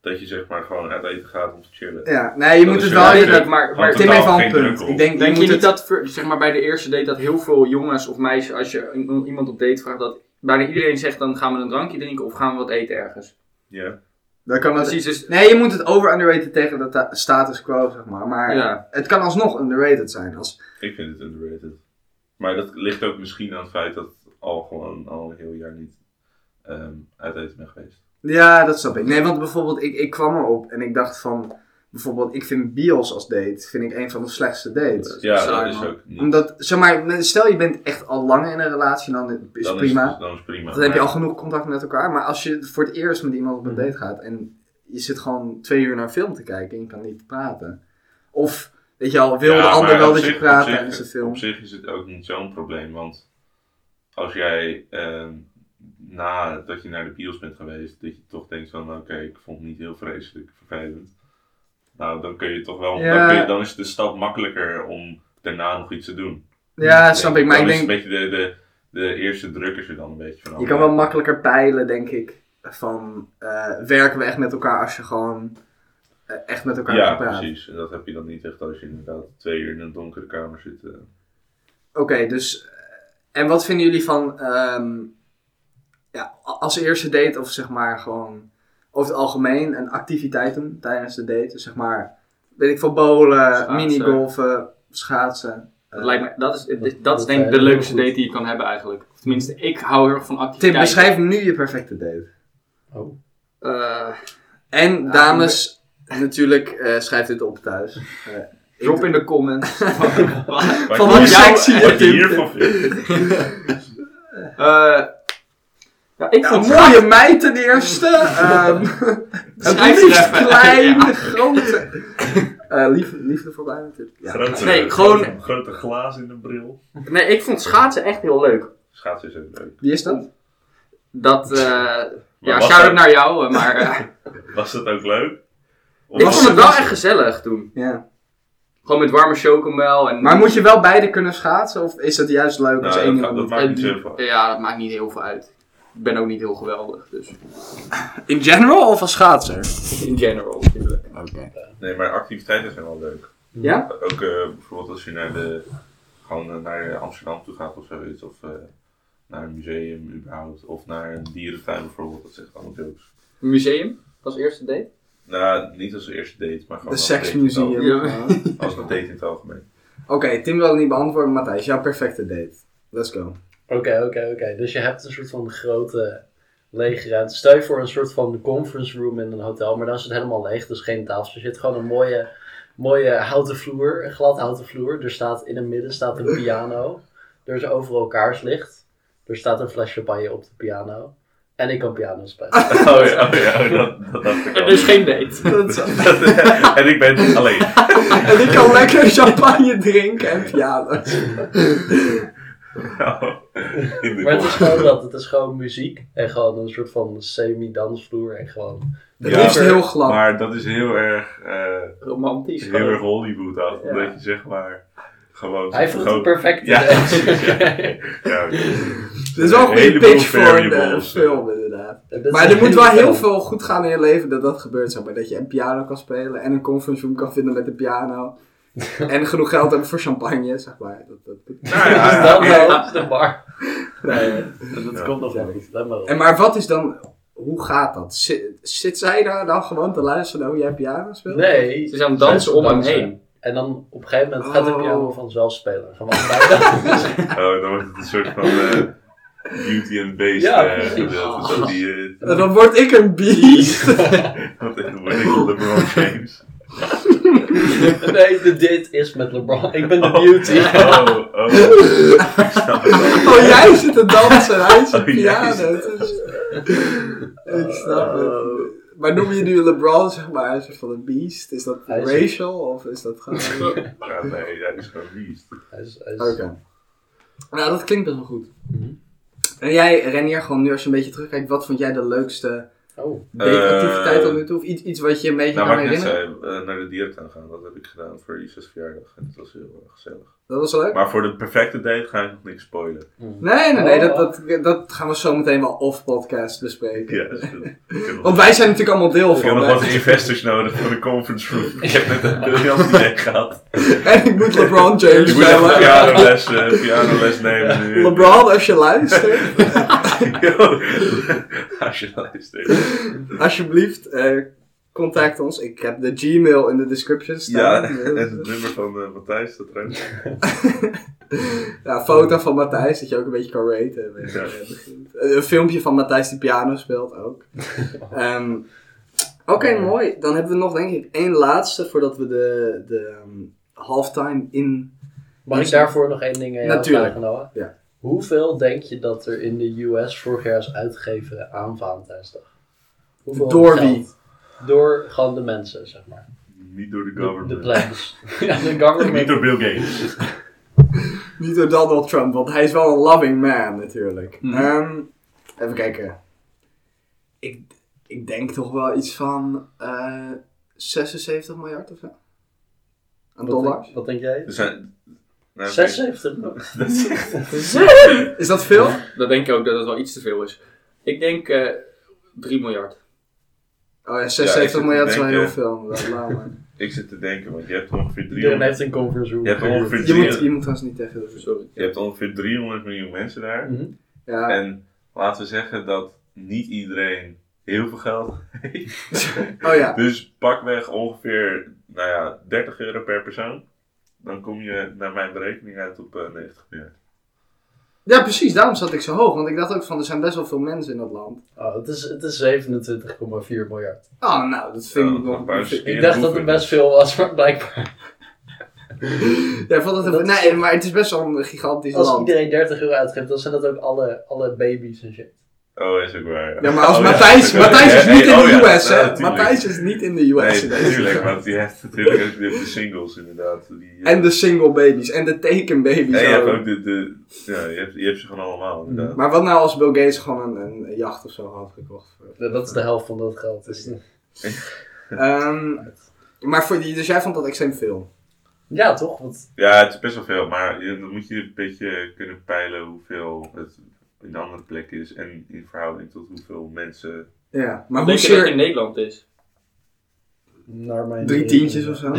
Speaker 3: Dat je zeg maar gewoon uit eten gaat om te chillen.
Speaker 1: Ja, nee, je
Speaker 3: Dat
Speaker 1: moet
Speaker 3: is
Speaker 2: Dus
Speaker 1: het
Speaker 3: wel
Speaker 1: wel...
Speaker 3: leuk.
Speaker 1: Je,
Speaker 2: inderdaad, maar,
Speaker 3: Want
Speaker 2: maar
Speaker 1: Tim
Speaker 3: Totaal
Speaker 1: heeft wel een
Speaker 3: geen
Speaker 1: punt.
Speaker 3: druk op.
Speaker 1: Ik denk,
Speaker 2: denk je
Speaker 1: moet
Speaker 2: niet
Speaker 1: het-
Speaker 2: dat ver- zeg maar, bij de eerste date dat heel veel jongens of meisjes, als je een- iemand op date vraagt, dat bijna iedereen zegt dan gaan we een drankje drinken of gaan we wat eten ergens.
Speaker 3: Ja.
Speaker 1: Dan kan dat...
Speaker 2: Precies, dus
Speaker 1: Nee, je moet het over-underrated tegen de ta- status quo, zeg maar. Maar
Speaker 2: ja.
Speaker 1: het kan alsnog underrated zijn. Als...
Speaker 3: Ik vind het underrated. Maar dat ligt ook misschien aan het feit dat ik al gewoon al een heel jaar niet ehm, uit eten ben geweest.
Speaker 1: Ja, dat snap ik. Nee, want bijvoorbeeld, ik, ik kwam erop en ik dacht van... Bijvoorbeeld, ik vind bios als date, vind ik een van de slechtste dates.
Speaker 3: Ja,
Speaker 2: saai,
Speaker 3: dat is
Speaker 2: man.
Speaker 3: ook niet.
Speaker 1: Omdat, zeg maar, stel je bent echt al lang in een relatie, dan is
Speaker 3: dan
Speaker 1: het prima.
Speaker 3: dan is prima.
Speaker 1: dan heb je
Speaker 3: Maar
Speaker 1: al genoeg contact met elkaar. Maar als je voor het eerst met iemand op
Speaker 3: Mm.
Speaker 1: een date gaat en je zit gewoon twee uur naar een film te kijken en je kan niet praten. Of, weet je al, wil
Speaker 3: Ja,
Speaker 1: de ander
Speaker 3: maar
Speaker 1: wel
Speaker 3: op
Speaker 1: dat je
Speaker 3: zich-
Speaker 1: praat
Speaker 3: op zich-
Speaker 1: tijdens de film?
Speaker 3: Op zich is het ook niet zo'n probleem, want als jij ehm nadat je naar de bios bent geweest, dat je toch denkt van, oké, ik vond het niet heel vreselijk vervelend. Nou, dan kun je toch wel,
Speaker 1: Ja.
Speaker 3: dan, kun je, dan is de stap makkelijker om daarna nog iets te doen.
Speaker 1: Ja, dat snap ik. Maar
Speaker 3: dan
Speaker 1: ik
Speaker 3: is
Speaker 1: denk,
Speaker 3: een beetje de, de, de eerste druk is er dan een beetje van. oh
Speaker 1: je kan wel makkelijker peilen, denk ik, van eh, werken we echt met elkaar als je gewoon eh, echt met elkaar
Speaker 3: Ja,
Speaker 1: gaat praten.
Speaker 3: precies. En dat heb je dan niet echt als je inderdaad twee uur in een donkere kamer
Speaker 1: <laughs>
Speaker 3: zit. eh.
Speaker 1: Oké, dus. eh, En wat vinden jullie van. ehm, ja, a- als eerste date, of zeg maar gewoon. Over het algemeen, een activiteit doen tijdens de date. Dus zeg maar. Weet ik veel, bowlen,
Speaker 2: Schaatsen.
Speaker 1: minigolfen, schaatsen.
Speaker 2: Dat, lijkt me, dat is, dat,
Speaker 4: dat
Speaker 2: is denk ik
Speaker 4: lijkt
Speaker 2: de
Speaker 4: me
Speaker 2: leukste
Speaker 4: heel goed.
Speaker 2: date die je kan hebben eigenlijk. Of tenminste, ik hou heel erg van
Speaker 1: Eh, Tim,
Speaker 2: activiteiten.
Speaker 1: beschrijf nu je perfecte date.
Speaker 4: Oh.
Speaker 1: Eh,
Speaker 2: <laughs>
Speaker 1: en dames, natuurlijk eh, schrijf dit op thuis. Eh,
Speaker 2: Drop in de
Speaker 1: <laughs>
Speaker 2: comments. <laughs> Eh,
Speaker 3: Wat
Speaker 1: Van
Speaker 3: je
Speaker 1: hoe
Speaker 3: hier-
Speaker 1: sexy je
Speaker 3: Wat je
Speaker 1: vindt.
Speaker 3: hiervan vindt.
Speaker 2: Eh, ja, ik
Speaker 1: Ja,
Speaker 2: vond
Speaker 1: een
Speaker 2: het
Speaker 1: mooie meid ten eerste.
Speaker 3: <laughs>
Speaker 1: Ehm het
Speaker 2: Schrijf
Speaker 1: liefst
Speaker 2: er even.
Speaker 1: klein,
Speaker 2: Ja.
Speaker 1: grote. <laughs> Eh, lief, liefde voor mij natuurlijk. <laughs> Ja.
Speaker 3: Grote,
Speaker 2: Nee, gewoon-
Speaker 3: grote- Grote glaas in de bril.
Speaker 2: gaaf. Nee, ik vond schaatsen echt heel leuk.
Speaker 3: Schaatsen is ook leuk.
Speaker 1: Wie is dat?
Speaker 2: Dat, eh, ja,
Speaker 3: was
Speaker 2: shout-out
Speaker 3: dat-
Speaker 2: naar jou, eh, maar
Speaker 1: <laughs>
Speaker 2: eh,
Speaker 3: Was dat ook leuk? Of
Speaker 2: ik
Speaker 3: was
Speaker 2: vond het
Speaker 1: was-
Speaker 2: wel echt gezellig toen.
Speaker 1: Ja.
Speaker 2: Gewoon met warme chocomel en...
Speaker 1: Maar moet je wel beide kunnen schaatsen? Of is het juist leuk als
Speaker 3: Nou,
Speaker 1: één
Speaker 3: dat,
Speaker 1: iemand
Speaker 3: gaat- dat
Speaker 1: niet?
Speaker 3: maakt niet
Speaker 2: en-
Speaker 3: zoveel uit.
Speaker 2: Ja, dat maakt niet heel veel uit. Ik ben ook niet heel geweldig, dus
Speaker 1: In general of als schaatser?
Speaker 2: in general.
Speaker 1: Oké.
Speaker 3: Nee, maar activiteiten zijn wel leuk.
Speaker 1: Ja?
Speaker 3: Ook eh, bijvoorbeeld als je naar, de, gewoon, eh, naar Amsterdam toe gaat of zoiets. Of eh, naar een museum überhaupt. Of naar een dierentuin bijvoorbeeld. Dat zegt allemaal jokes.
Speaker 2: Museum als eerste date?
Speaker 3: Nou, niet als eerste date, maar gewoon
Speaker 1: Een
Speaker 3: als date in het
Speaker 1: seksmuseum.
Speaker 2: Ja.
Speaker 1: <laughs> Oké,
Speaker 3: algemeen. Als een date in het algemeen.
Speaker 1: Tim wil het niet beantwoorden. Matthijs, jouw perfecte date. Let's <laughs> go.
Speaker 4: Oké, oké, oké. Dus je hebt een soort van grote lege ruimte. Stel je voor een soort van conference room in een hotel, maar dan is het helemaal leeg, dus geen tafels. Er zit gewoon een mooie, mooie houten vloer, een glad houten vloer. Er staat in het midden staat een piano. Er is overal kaarslicht. Er staat een fles champagne op de piano. En ik kan piano
Speaker 1: Ah,
Speaker 4: spelen.
Speaker 3: <laughs> Oh ja, oh ja, oh, dat, dat dacht ik al.
Speaker 2: Dus geen date.
Speaker 1: <laughs> Dat
Speaker 3: <laughs>
Speaker 1: is-
Speaker 3: en ik ben alleen. <laughs>
Speaker 1: en ik kan lekker champagne drinken en <laughs> piano.
Speaker 3: Nou, in de
Speaker 4: Maar het is gewoon dat. Het is gewoon muziek en gewoon een soort van semi-dansvloer en gewoon...
Speaker 1: Het
Speaker 3: Ja,
Speaker 1: liefst heel glad.
Speaker 3: Maar dat is heel erg, eh,
Speaker 2: Romantisch.
Speaker 3: heel erg Hollywood af.
Speaker 2: Ja.
Speaker 3: Omdat je zeg maar gewoon...
Speaker 4: Hij vroeg de
Speaker 3: gewoon-
Speaker 4: perfecte <laughs>
Speaker 3: Ja, precies, ja.
Speaker 4: date.
Speaker 3: Ja,
Speaker 4: <laughs>
Speaker 3: oké. Nou
Speaker 1: Dit is wel een goede
Speaker 3: Heleboel
Speaker 1: pitch voor de
Speaker 3: variables.
Speaker 1: film, inderdaad.
Speaker 4: En dit
Speaker 1: Maar
Speaker 4: is
Speaker 1: er moet
Speaker 4: een
Speaker 1: wel
Speaker 4: hele
Speaker 1: heel
Speaker 4: film.
Speaker 1: veel goed gaan in je leven dat dat gebeurt. Zeg maar. Dat je een piano kan spelen en een conference room kan vinden met de piano. en genoeg geld hebben voor champagne, zeg maar. Dat, dat,
Speaker 3: Nou ja,
Speaker 4: Dus dan
Speaker 3: oké.
Speaker 4: wel op de bar.
Speaker 1: Nee.
Speaker 4: dus Dat
Speaker 3: Ja.
Speaker 4: komt nog wel goed, let maar op.
Speaker 1: En maar wat is dan... Hoe gaat dat? Zit, zit zij daar dan gewoon te luisteren naar hoe jij piano speelt?
Speaker 4: Nee.
Speaker 2: Ze zijn aan het dansen om hem heen.
Speaker 4: En dan op een gegeven moment gaat de
Speaker 1: Oh.
Speaker 4: piano vanzelf spelen. Gewoon bij
Speaker 3: Oh, dan wordt het een soort van eh, Beauty and Beast
Speaker 4: Ja,
Speaker 3: eh,
Speaker 4: precies. Oh.
Speaker 3: gedeelte. Zo die, eh,
Speaker 1: En Dan word ik een beest.
Speaker 3: <laughs> wat heet het? Word ik LeBron
Speaker 4: <laughs>
Speaker 3: James?
Speaker 4: Nee, de dit is met LeBron. Ik ben de
Speaker 3: Oh.
Speaker 4: beauty.
Speaker 3: Oh,
Speaker 4: <laughs>
Speaker 3: oh. Ik snap het al.
Speaker 1: oh, jij zit te dansen en hij zit
Speaker 3: Oh, jij
Speaker 1: piano.
Speaker 3: zit
Speaker 1: Het is- ik snap het. Maar noem je nu LeBron, zeg maar, een soort van een beest? Is dat
Speaker 4: Hij is-
Speaker 1: racial of is dat gewoon...
Speaker 3: Ja, eh, nee, hij is gewoon beast.
Speaker 4: Hij is- hij is-
Speaker 1: Oké. Dus- Nou, dat klinkt best wel goed.
Speaker 4: Mhm.
Speaker 1: En jij, Renier, gewoon nu als je een beetje terugkijkt, wat vond jij de leukste
Speaker 4: Oh,
Speaker 1: dateactiviteit
Speaker 3: Eh,
Speaker 1: tot nu toe? Of iets, iets wat je een beetje
Speaker 3: Nou,
Speaker 1: kan
Speaker 3: waar ik net
Speaker 1: herinneren?
Speaker 3: zei, eh, naar de dierentuin gaan. Dat heb ik gedaan voor Lisa's verjaardag. En dat was heel eh, gezellig.
Speaker 1: Dat was leuk?
Speaker 3: Maar voor de perfecte date ga ik nog niks spoilen.
Speaker 1: Nee, nee, nee,
Speaker 4: Oh.
Speaker 1: dat, dat, dat gaan we zo meteen wel off-podcast bespreken.
Speaker 3: <laughs> Ja, dat is goed. Ik heb nog-
Speaker 1: Want wij zijn natuurlijk allemaal deel
Speaker 3: Ik heb
Speaker 1: van.
Speaker 3: nog
Speaker 1: hè?
Speaker 3: wat investors nodig voor de conference <laughs> room. Ik heb net een briljant idee <laughs> gehad.
Speaker 1: <laughs> En ik moet
Speaker 3: <laughs>
Speaker 1: LeBron James
Speaker 3: Ik moet even
Speaker 1: bellen.
Speaker 3: pianoles, eh, pianoles nemen nu. <laughs>
Speaker 1: LeBron, als je luistert, <laughs>
Speaker 3: Yo, Als je luistert.
Speaker 1: alsjeblieft, eh, contact ons. Ik heb de Gmail in de description
Speaker 3: Ja,
Speaker 1: staan. Dus-
Speaker 3: en het nummer van eh, Matthijs, dat ruimt.
Speaker 1: <laughs> Ja, foto van Matthijs, dat je ook een beetje kan raten. weet je,
Speaker 3: Ja.
Speaker 1: eh, begint. Eh, Een filmpje van Matthijs die piano speelt ook. Ehm, Oké, mooi. Dan hebben we nog denk ik één laatste voordat we de, de ehm, halftime in...
Speaker 4: Mag ik daarvoor nog één ding aan jou
Speaker 1: Natuurlijk.
Speaker 4: vragen, Noah?
Speaker 1: Ja.
Speaker 4: Hoeveel denk je dat er in de US vorig jaar is uitgegeven aan Valentijnsdag? Hoeveel
Speaker 1: Door
Speaker 4: geld?
Speaker 1: wie?
Speaker 4: Door gewoon de mensen, zeg maar.
Speaker 3: Niet door de
Speaker 4: De, de
Speaker 3: government.
Speaker 4: plans. ja, de
Speaker 3: Niet
Speaker 4: government.
Speaker 3: door Bill Gates.
Speaker 1: Niet door Donald Trump, want hij is wel een loving man natuurlijk.
Speaker 2: Mhm.
Speaker 1: Ehm, even kijken. Ik, ik denk toch wel iets van eh 76 miljard of zo. Aan
Speaker 4: Wat
Speaker 1: dollars.
Speaker 4: denk, wat denk jij?
Speaker 3: Er zijn... Nou,
Speaker 4: 76
Speaker 3: dat is echt-
Speaker 1: Is dat veel?
Speaker 2: Dat denk ik ook dat het wel iets te veel is. Ik denk eh 3 miljard.
Speaker 1: Oh ja,
Speaker 3: Ja, ik
Speaker 1: 76
Speaker 3: zit te
Speaker 1: miljard is wel
Speaker 3: denken.
Speaker 1: heel veel. maar laat
Speaker 3: <laughs>
Speaker 1: maar.
Speaker 3: Ik zit te denken, want je hebt ongeveer
Speaker 4: Iedereen
Speaker 3: 300,
Speaker 4: heeft een conference room.
Speaker 3: Je hebt ongeveer
Speaker 1: Je
Speaker 3: drie-
Speaker 1: moet, je moet trouwens niet tegen de
Speaker 2: Sorry.
Speaker 3: je hebt ongeveer 300 miljoen mensen daar.
Speaker 4: Mhm.
Speaker 1: Ja,
Speaker 3: En laten we zeggen dat niet iedereen heel veel geld heeft.
Speaker 1: oh ja.
Speaker 3: Dus pakweg ongeveer nou ja, 30 euro per persoon. dan kom je naar mijn berekening uit op eh, 90 miljard.
Speaker 1: Ja, precies. Daarom zat ik zo hoog. Want ik dacht ook van, er zijn best wel veel mensen in dat land.
Speaker 4: Oh, het is, het is 27,4 miljard.
Speaker 1: Ah, nou, dat vind
Speaker 3: Ja,
Speaker 1: ik
Speaker 3: dat
Speaker 1: nog...
Speaker 3: was
Speaker 1: vind-
Speaker 3: Ja,
Speaker 4: Ik dacht
Speaker 3: dat
Speaker 4: dat
Speaker 3: hoef
Speaker 4: het
Speaker 3: ik
Speaker 4: best
Speaker 3: niet.
Speaker 4: veel was, maar blijkbaar.
Speaker 1: Ja, ik vond dat
Speaker 4: Dat
Speaker 1: even,
Speaker 4: is-
Speaker 1: nee, maar het is best wel een gigantisch
Speaker 4: Als
Speaker 1: land.
Speaker 4: iedereen 30 euro uitgeeft, dan zijn dat ook alle, alle baby's en shit.
Speaker 3: Oh, is ook waar.
Speaker 1: Ja, maar als
Speaker 3: Oh, <laughs>
Speaker 1: Matthijs, Matthijs is
Speaker 3: Hey,
Speaker 1: niet
Speaker 3: hey,
Speaker 1: in
Speaker 3: oh
Speaker 1: de
Speaker 3: ja,
Speaker 1: US,
Speaker 3: ja,
Speaker 1: hè.
Speaker 3: tuurlijk.
Speaker 1: Matthijs is niet in de US. in
Speaker 3: Nee,
Speaker 1: deze
Speaker 3: natuurlijk,
Speaker 1: film.
Speaker 3: want die heeft natuurlijk ook de, de singles inderdaad. Die, eh,
Speaker 1: En de single babies en de tekenbabies
Speaker 3: en je hebt
Speaker 1: ook.
Speaker 3: ook de, de ja, je hebt, je hebt ze gewoon allemaal inderdaad.
Speaker 1: Maar wat nou als Bill Gates gewoon een, een jacht of zo had gekocht?
Speaker 3: <laughs>
Speaker 4: Nou, Dat is de helft van dat geld. Dus-
Speaker 1: Ehm, maar voor die, dus jij vond dat extreem veel.
Speaker 4: Ja, toch? Want
Speaker 3: Ja, het is best wel veel, maar je- dan moet je een beetje kunnen peilen hoeveel het in de andere plek is en in verhouding tot hoeveel mensen.
Speaker 1: Ja, maar hoe
Speaker 2: Denk je dat het
Speaker 1: zeer...
Speaker 2: in Nederland is?
Speaker 4: naar mijn
Speaker 1: Drie tientjes of zo?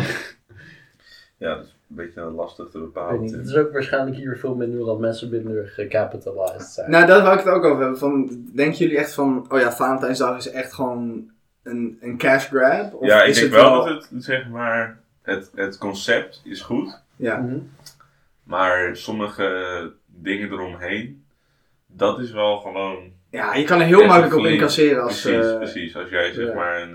Speaker 3: Ja, dat is een beetje lastig te
Speaker 4: Ik weet
Speaker 3: bepalen.
Speaker 4: niet. Het is ook waarschijnlijk hier veel minder dat mensen minder gecapitalized zijn.
Speaker 1: Nou, daar wou ik het ook over hebben. Van, denken jullie echt van, oh ja, Valentijnsdag is echt gewoon een, een cash grab? Of
Speaker 3: ja, ik
Speaker 1: is
Speaker 3: denk
Speaker 1: het
Speaker 3: wel dat het, zeg maar, het, het concept is goed,
Speaker 1: Ja,
Speaker 4: Mhm.
Speaker 3: maar sommige dingen eromheen, dat is wel gewoon
Speaker 1: ja, je kan er heel
Speaker 3: Echt
Speaker 1: makkelijk op
Speaker 3: flink.
Speaker 1: incasseren als...
Speaker 3: precies,
Speaker 1: eh,
Speaker 3: precies. Als jij zeg
Speaker 1: ja.
Speaker 3: maar een,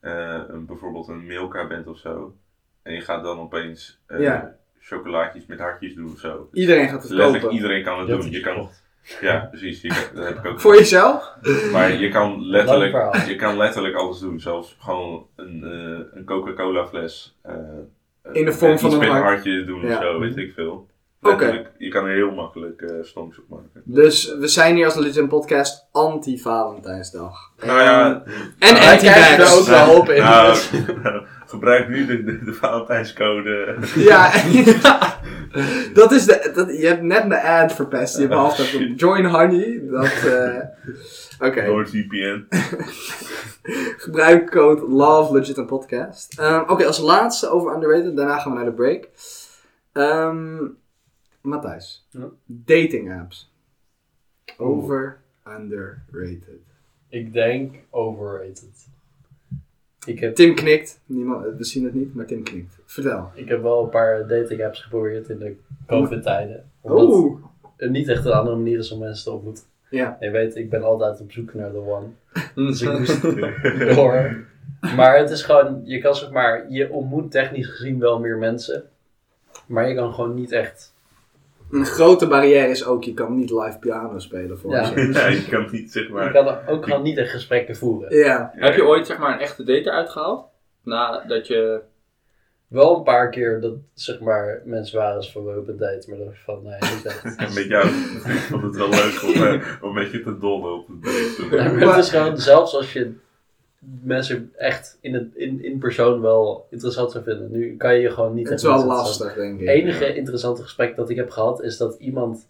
Speaker 3: eh, eh, een, bijvoorbeeld een Milka bent of zo. En je gaat dan opeens eh,
Speaker 1: Ja.
Speaker 3: chocolaatjes met hartjes doen of zo.
Speaker 1: Iedereen gaat het
Speaker 3: Letterlijk
Speaker 1: kopen.
Speaker 3: iedereen kan het
Speaker 4: Dat
Speaker 3: doen.
Speaker 4: is
Speaker 3: Je kan,
Speaker 4: goed.
Speaker 3: ja, precies. Je kan- dat heb ik ook.
Speaker 1: Voor jezelf?
Speaker 3: Maar je kan,
Speaker 4: Lang
Speaker 3: letterlijk,
Speaker 4: verhaal.
Speaker 3: je kan letterlijk alles doen. Zelfs gewoon een, eh, een Coca-Cola fles. eh,
Speaker 1: In de vorm
Speaker 3: iets
Speaker 1: van een
Speaker 3: met
Speaker 1: hart.
Speaker 3: hartje doen
Speaker 1: Ja.
Speaker 3: of zo, weet ik veel.
Speaker 1: Oké.
Speaker 3: Letterlijk, Je kan er heel makkelijk eh stonks op maken.
Speaker 1: Dus we zijn hier als Legend Podcast anti-Valentijnsdag.
Speaker 3: Nou ja,
Speaker 1: En
Speaker 4: Wij kijken er
Speaker 1: anti-vax.
Speaker 4: ook wel op in.
Speaker 3: nou, <laughs> gebruik nu de, de, de Valentijnscode.
Speaker 1: Ja, ja. dat is de. Dat, je hebt net mijn ad verpest. Je hebt
Speaker 3: Oh,
Speaker 1: half dat
Speaker 3: <laughs> shit.
Speaker 1: join honey. Dat. eh, Oké.
Speaker 3: NoordVPN.
Speaker 1: Gebruik code love legit en podcast. Ehm, Oké, als laatste over underrated. Daarna gaan we naar de break. Ehm Matthijs.
Speaker 4: Ja? Oh.
Speaker 1: Dating apps. Over underrated.
Speaker 4: Ik denk overrated. Ik heb,
Speaker 1: Tim knikt. Niemand, eh, we zien het niet, maar Tim knikt. Vertel.
Speaker 4: ik heb wel een paar dating apps geprobeerd in de COVID-tijden. Omdat
Speaker 1: Oeh.
Speaker 4: het niet echt een andere manier is om mensen te ontmoeten.
Speaker 1: Ja.
Speaker 4: Je weet, ik ben altijd op zoek naar de
Speaker 1: <laughs>
Speaker 4: one. Dus ik moest door. Maar het is gewoon, je kan zeg maar, je ontmoet technisch gezien wel meer mensen. Maar je kan gewoon niet echt.
Speaker 1: Een grote barrière is ook, je kan niet live piano spelen voor
Speaker 4: Ja.
Speaker 1: jezelf.
Speaker 3: <laughs> ja, je kan niet zeg
Speaker 4: Je
Speaker 3: maar.
Speaker 4: kan ook gewoon niet echt gesprekken voeren.
Speaker 1: Ja.
Speaker 3: Ja,
Speaker 2: Heb je ooit zeg maar een echte date eruit gehaald? Nadat je...
Speaker 4: Wel een paar keer dat zeg maar, mensen waren eens van we hebben een date, maar dat was van nee, niet
Speaker 1: <laughs>
Speaker 4: echt.
Speaker 3: <laughs> En met jou ik vond het wel leuk om, eh, om een beetje te dollen op het beest.
Speaker 4: Ja, maar het is gewoon, zelfs als je mensen echt in, het, in, in persoon wel interessant zou vinden, nu kan je je gewoon niet
Speaker 1: Het is
Speaker 4: echt
Speaker 1: wel
Speaker 4: interessant
Speaker 1: lastig, denk ik.
Speaker 4: Het enige interessante gesprek dat ik heb gehad is dat iemand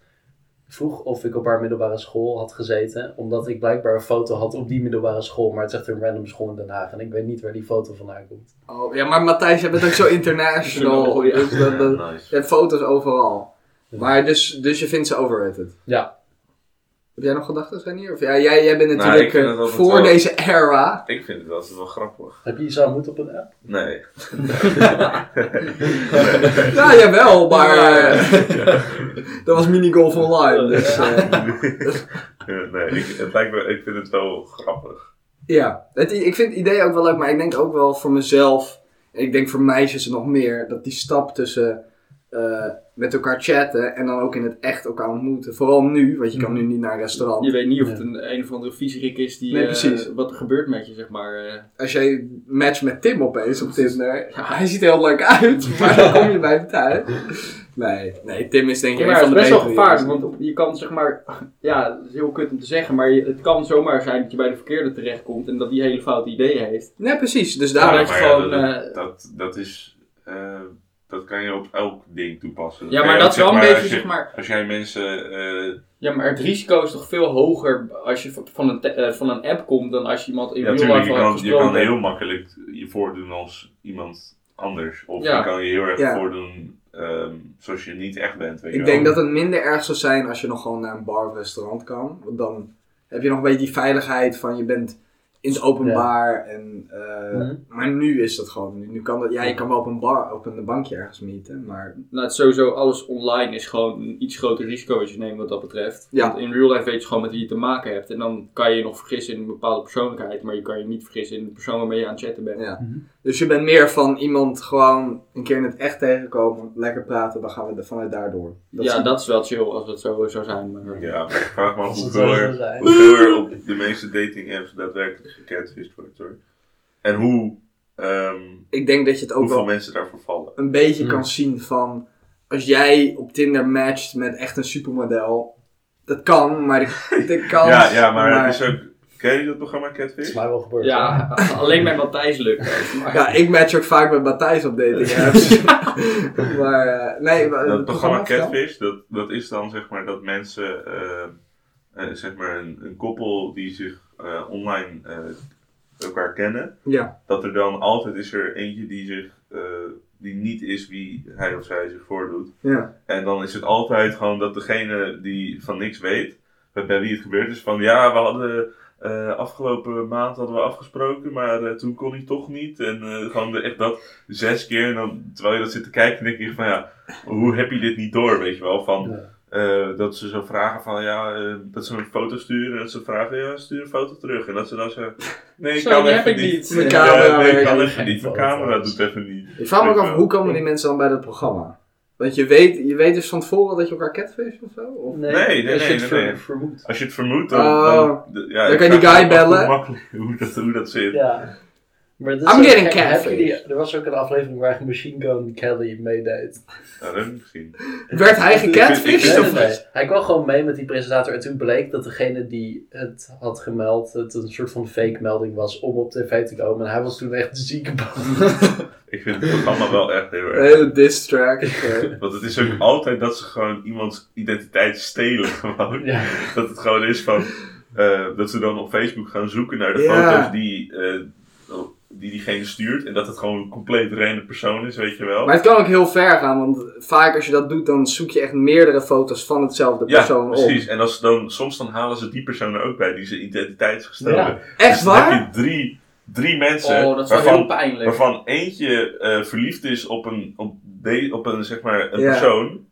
Speaker 4: vroeg of ik op haar middelbare school had gezeten. Omdat ik blijkbaar een foto had op die middelbare school. Maar het is echt een random school in Den Haag. En ik weet niet waar die foto vandaan komt.
Speaker 1: Oh, ja, maar Matthijs, jij bent ook
Speaker 4: <laughs>
Speaker 1: zo international.
Speaker 2: Ja.
Speaker 1: dus dat- dat-
Speaker 3: nice.
Speaker 1: je hebt foto's overal. Maar dus, dus je vindt ze overrated.
Speaker 4: Ja.
Speaker 1: Heb jij nog gedachten, zijn hier? Of ja, jij, jij bent
Speaker 3: Nou,
Speaker 1: natuurlijk
Speaker 3: ik vind
Speaker 1: eh,
Speaker 3: het altijd
Speaker 1: voor
Speaker 3: wel-
Speaker 1: deze era.
Speaker 3: Ik vind het altijd wel grappig.
Speaker 4: Heb je iets aan moed op een app?
Speaker 3: Nee.
Speaker 1: Ja, jawel, maar eh, <laughs> dat was minigolf online. Dus, eh,
Speaker 3: nee, ik, het lijkt me, ik vind het wel grappig.
Speaker 1: Ja, het, i- ik vind het idee ook wel leuk, maar ik denk ook wel voor mezelf, en ik denk voor meisjes nog meer, dat die stap tussen eh, met elkaar chatten en dan ook in het echt elkaar ontmoeten. Vooral nu, want je kan nu niet naar een
Speaker 2: Je
Speaker 1: restaurant.
Speaker 2: weet niet of het een, een of andere viezerik is die...
Speaker 1: Nee,
Speaker 2: eh,
Speaker 1: precies.
Speaker 2: wat er gebeurt met je, zeg maar. eh.
Speaker 1: Als jij matcht met Tim opeens op Tinder, ja, hij ziet er heel leuk uit, <laughs> maar dan kom je bij hem thuis. Nee, nee, Tim is denk
Speaker 2: Ja,
Speaker 1: ik een
Speaker 2: maar het is
Speaker 1: van de
Speaker 2: best wel
Speaker 1: betere
Speaker 2: gevaarlijk,
Speaker 1: jongens.
Speaker 2: want je kan zeg maar, <laughs> ja, het is heel kut om te zeggen, maar je- het kan zomaar zijn dat je bij de verkeerde terechtkomt en dat die hele foute ideeën heeft.
Speaker 1: Nee, precies. Dus
Speaker 2: Ja,
Speaker 1: daar...
Speaker 2: dat is gewoon,
Speaker 3: dat,
Speaker 2: eh,
Speaker 3: dat, dat is... eh, dat kan je op elk ding toepassen.
Speaker 2: Ja,
Speaker 3: kan
Speaker 2: maar
Speaker 3: je
Speaker 2: dat
Speaker 3: ook,
Speaker 2: is wel een
Speaker 3: zeg maar,
Speaker 2: beetje,
Speaker 3: als je-
Speaker 2: zeg maar,
Speaker 3: Als jij mensen... eh,
Speaker 2: ja, maar het risico is toch veel hoger als je van- van een, te- eh, van een app komt dan als je iemand in
Speaker 3: ja,
Speaker 2: real
Speaker 3: natuurlijk,
Speaker 2: life
Speaker 3: je
Speaker 2: al hebt
Speaker 3: kan, je kan
Speaker 2: gesproken.
Speaker 3: heel makkelijk je voordoen als iemand anders. Of
Speaker 2: Ja.
Speaker 3: je kan je heel erg
Speaker 1: Ja.
Speaker 3: voordoen ehm, zoals je niet echt bent. Weet je
Speaker 1: Ik denk
Speaker 3: wel.
Speaker 1: dat het minder erg zou zijn als je nog gewoon naar een bar of restaurant kan. Want dan heb je nog een beetje die veiligheid van je bent in het openbaar. En, eh,
Speaker 4: Mhm.
Speaker 1: Maar nu is dat gewoon. Nu, nu kan dat, ja, je kan wel op een, bar, op een bankje ergens meeten. Maar
Speaker 2: Nou, het is sowieso alles online is gewoon een iets groter risico als je neemt wat dat betreft.
Speaker 1: Ja.
Speaker 2: Want in real life weet je gewoon met wie je te maken hebt. En dan kan je je nog vergissen in een bepaalde persoonlijkheid, maar je kan je niet vergissen in de persoon waarmee je aan het chatten bent.
Speaker 1: ja.
Speaker 4: Mhm.
Speaker 1: Dus je bent meer van iemand gewoon een keer in het echt tegenkomen, lekker praten, dan gaan we er vanuit daardoor.
Speaker 2: ja, dat is wel chill als het zo zou zijn. Maar...
Speaker 3: Ja, maar ik vraag me af
Speaker 4: Als het
Speaker 3: hoeveel
Speaker 4: zo zou
Speaker 3: er,
Speaker 4: zijn.
Speaker 3: hoeveel er op de meeste dating apps daadwerkelijk gecatfished wordt hoor. En hoe, ehm,
Speaker 1: Ik denk dat je het ook
Speaker 3: hoeveel Hmm.
Speaker 1: wel
Speaker 3: mensen daarvoor vallen.
Speaker 1: een beetje
Speaker 4: Mm.
Speaker 1: kan zien van als jij op Tinder matcht met echt een supermodel. Dat kan, maar de,
Speaker 3: <laughs>
Speaker 1: de kans.
Speaker 3: ja, ja, maar, het is ook. Ken je dat programma
Speaker 4: Dat is
Speaker 3: Catfish?
Speaker 4: mij wel gebeurd. hoor.
Speaker 2: Ja, <laughs> alleen bij Matthijs
Speaker 3: <laughs>
Speaker 2: lukt het. Maar...
Speaker 1: Ja, ik match ook vaak met Matthijs op dating
Speaker 3: <laughs>
Speaker 1: apps. maar eh, nee, maar,
Speaker 3: Dat
Speaker 1: het
Speaker 3: programma
Speaker 1: vertel.
Speaker 3: Catfish, dat, dat is dan zeg maar dat mensen, ehm, eh, zeg maar een, een koppel die zich eh, online eh, elkaar kennen,
Speaker 1: Ja,
Speaker 3: dat er dan altijd is er eentje die zich, eh, die niet is wie hij of zij zich voordoet.
Speaker 1: ja.
Speaker 3: En dan is het altijd gewoon dat degene die van niks weet, bij bij wie het gebeurd is, van ja, we hadden eh, afgelopen maand hadden we afgesproken, maar eh, toen kon hij toch niet. En eh, gewoon de- echt dat zes keer. En dan, terwijl je dat zit te kijken, denk je van ja, hoe heb je dit niet door, weet je wel? Van,
Speaker 4: Ja.
Speaker 3: eh, dat ze zo vragen van ja, eh, dat ze een foto sturen en dat ze vragen, ja, stuur een foto terug. En dat ze dan zeggen, nee, ik
Speaker 2: Zo,
Speaker 3: kan
Speaker 2: die
Speaker 3: even
Speaker 2: heb ik
Speaker 3: niet.
Speaker 2: niet.
Speaker 1: Mijn
Speaker 3: Ja,
Speaker 1: camera
Speaker 3: nee, ik
Speaker 1: werkt.
Speaker 3: kan
Speaker 4: niet.
Speaker 3: even niet. Mijn
Speaker 4: Foto's.
Speaker 3: camera doet even niet.
Speaker 1: Ik vraag me ook
Speaker 3: Weet
Speaker 1: af,
Speaker 3: je
Speaker 1: hoe komen die mensen dan bij dat programma? Want je weet, je weet dus van tevoren dat je elkaar catfish of zo? Of?
Speaker 3: <laughs>
Speaker 4: Nee,
Speaker 3: nee, nee,
Speaker 4: als je het
Speaker 3: nee,
Speaker 4: ver-
Speaker 3: nee.
Speaker 4: vermoedt.
Speaker 3: Als je het vermoedt, dan,
Speaker 1: Oh.
Speaker 3: dan, de- ja,
Speaker 1: Dan
Speaker 3: ik
Speaker 1: kan je die
Speaker 3: vraag me
Speaker 1: guy
Speaker 3: af
Speaker 1: bellen.
Speaker 3: Hoe, makkelijk- <laughs> hoe, dat, hoe dat zit.
Speaker 4: Ja. Maar dat
Speaker 1: I'm
Speaker 4: ook
Speaker 1: getting
Speaker 4: gek. Heb je
Speaker 1: catfished.
Speaker 4: die- Er was ook een aflevering waar Machine Gun Kelly meedeed.
Speaker 3: Nou, dat heb ik gezien.
Speaker 1: Werd hij
Speaker 3: Ik
Speaker 4: Nee,
Speaker 1: gecatfished?
Speaker 3: vind-
Speaker 4: nee,
Speaker 1: of-
Speaker 4: nee. Hij kwam gewoon mee met die presentator en toen bleek dat degene die het had gemeld, het een soort van fake melding was om op tv te komen. En hij was toen echt ziek bang.
Speaker 3: Ik vind het programma wel echt heel
Speaker 1: Een
Speaker 3: erg.
Speaker 1: hele diss track.
Speaker 3: <laughs>
Speaker 1: eh.
Speaker 3: Want het is ook altijd dat ze gewoon iemands identiteit stelen. <laughs> Gewoon.
Speaker 4: Ja.
Speaker 3: Dat het gewoon is van. eh, dat ze dan op Facebook gaan zoeken naar de
Speaker 1: Ja.
Speaker 3: foto's die, eh, die diegene stuurt. En dat het gewoon een compleet random persoon is, weet je wel.
Speaker 1: Maar het kan ook heel ver gaan, want vaak als je dat doet, dan zoek je echt meerdere foto's van hetzelfde
Speaker 3: ja,
Speaker 1: persoon op.
Speaker 3: precies. En als ze dan, soms dan halen ze die persoon er ook bij die zijn identiteit is gestolen.
Speaker 4: Ja.
Speaker 1: Echt
Speaker 3: Dus dan
Speaker 1: waar?
Speaker 3: heb je drie, drie mensen
Speaker 2: Oh, dat is wel
Speaker 3: waarvan
Speaker 2: heel pijnlijk.
Speaker 3: Waarvan eentje eh, verliefd is op een, op de, op een, zeg maar, een
Speaker 1: Ja.
Speaker 3: persoon.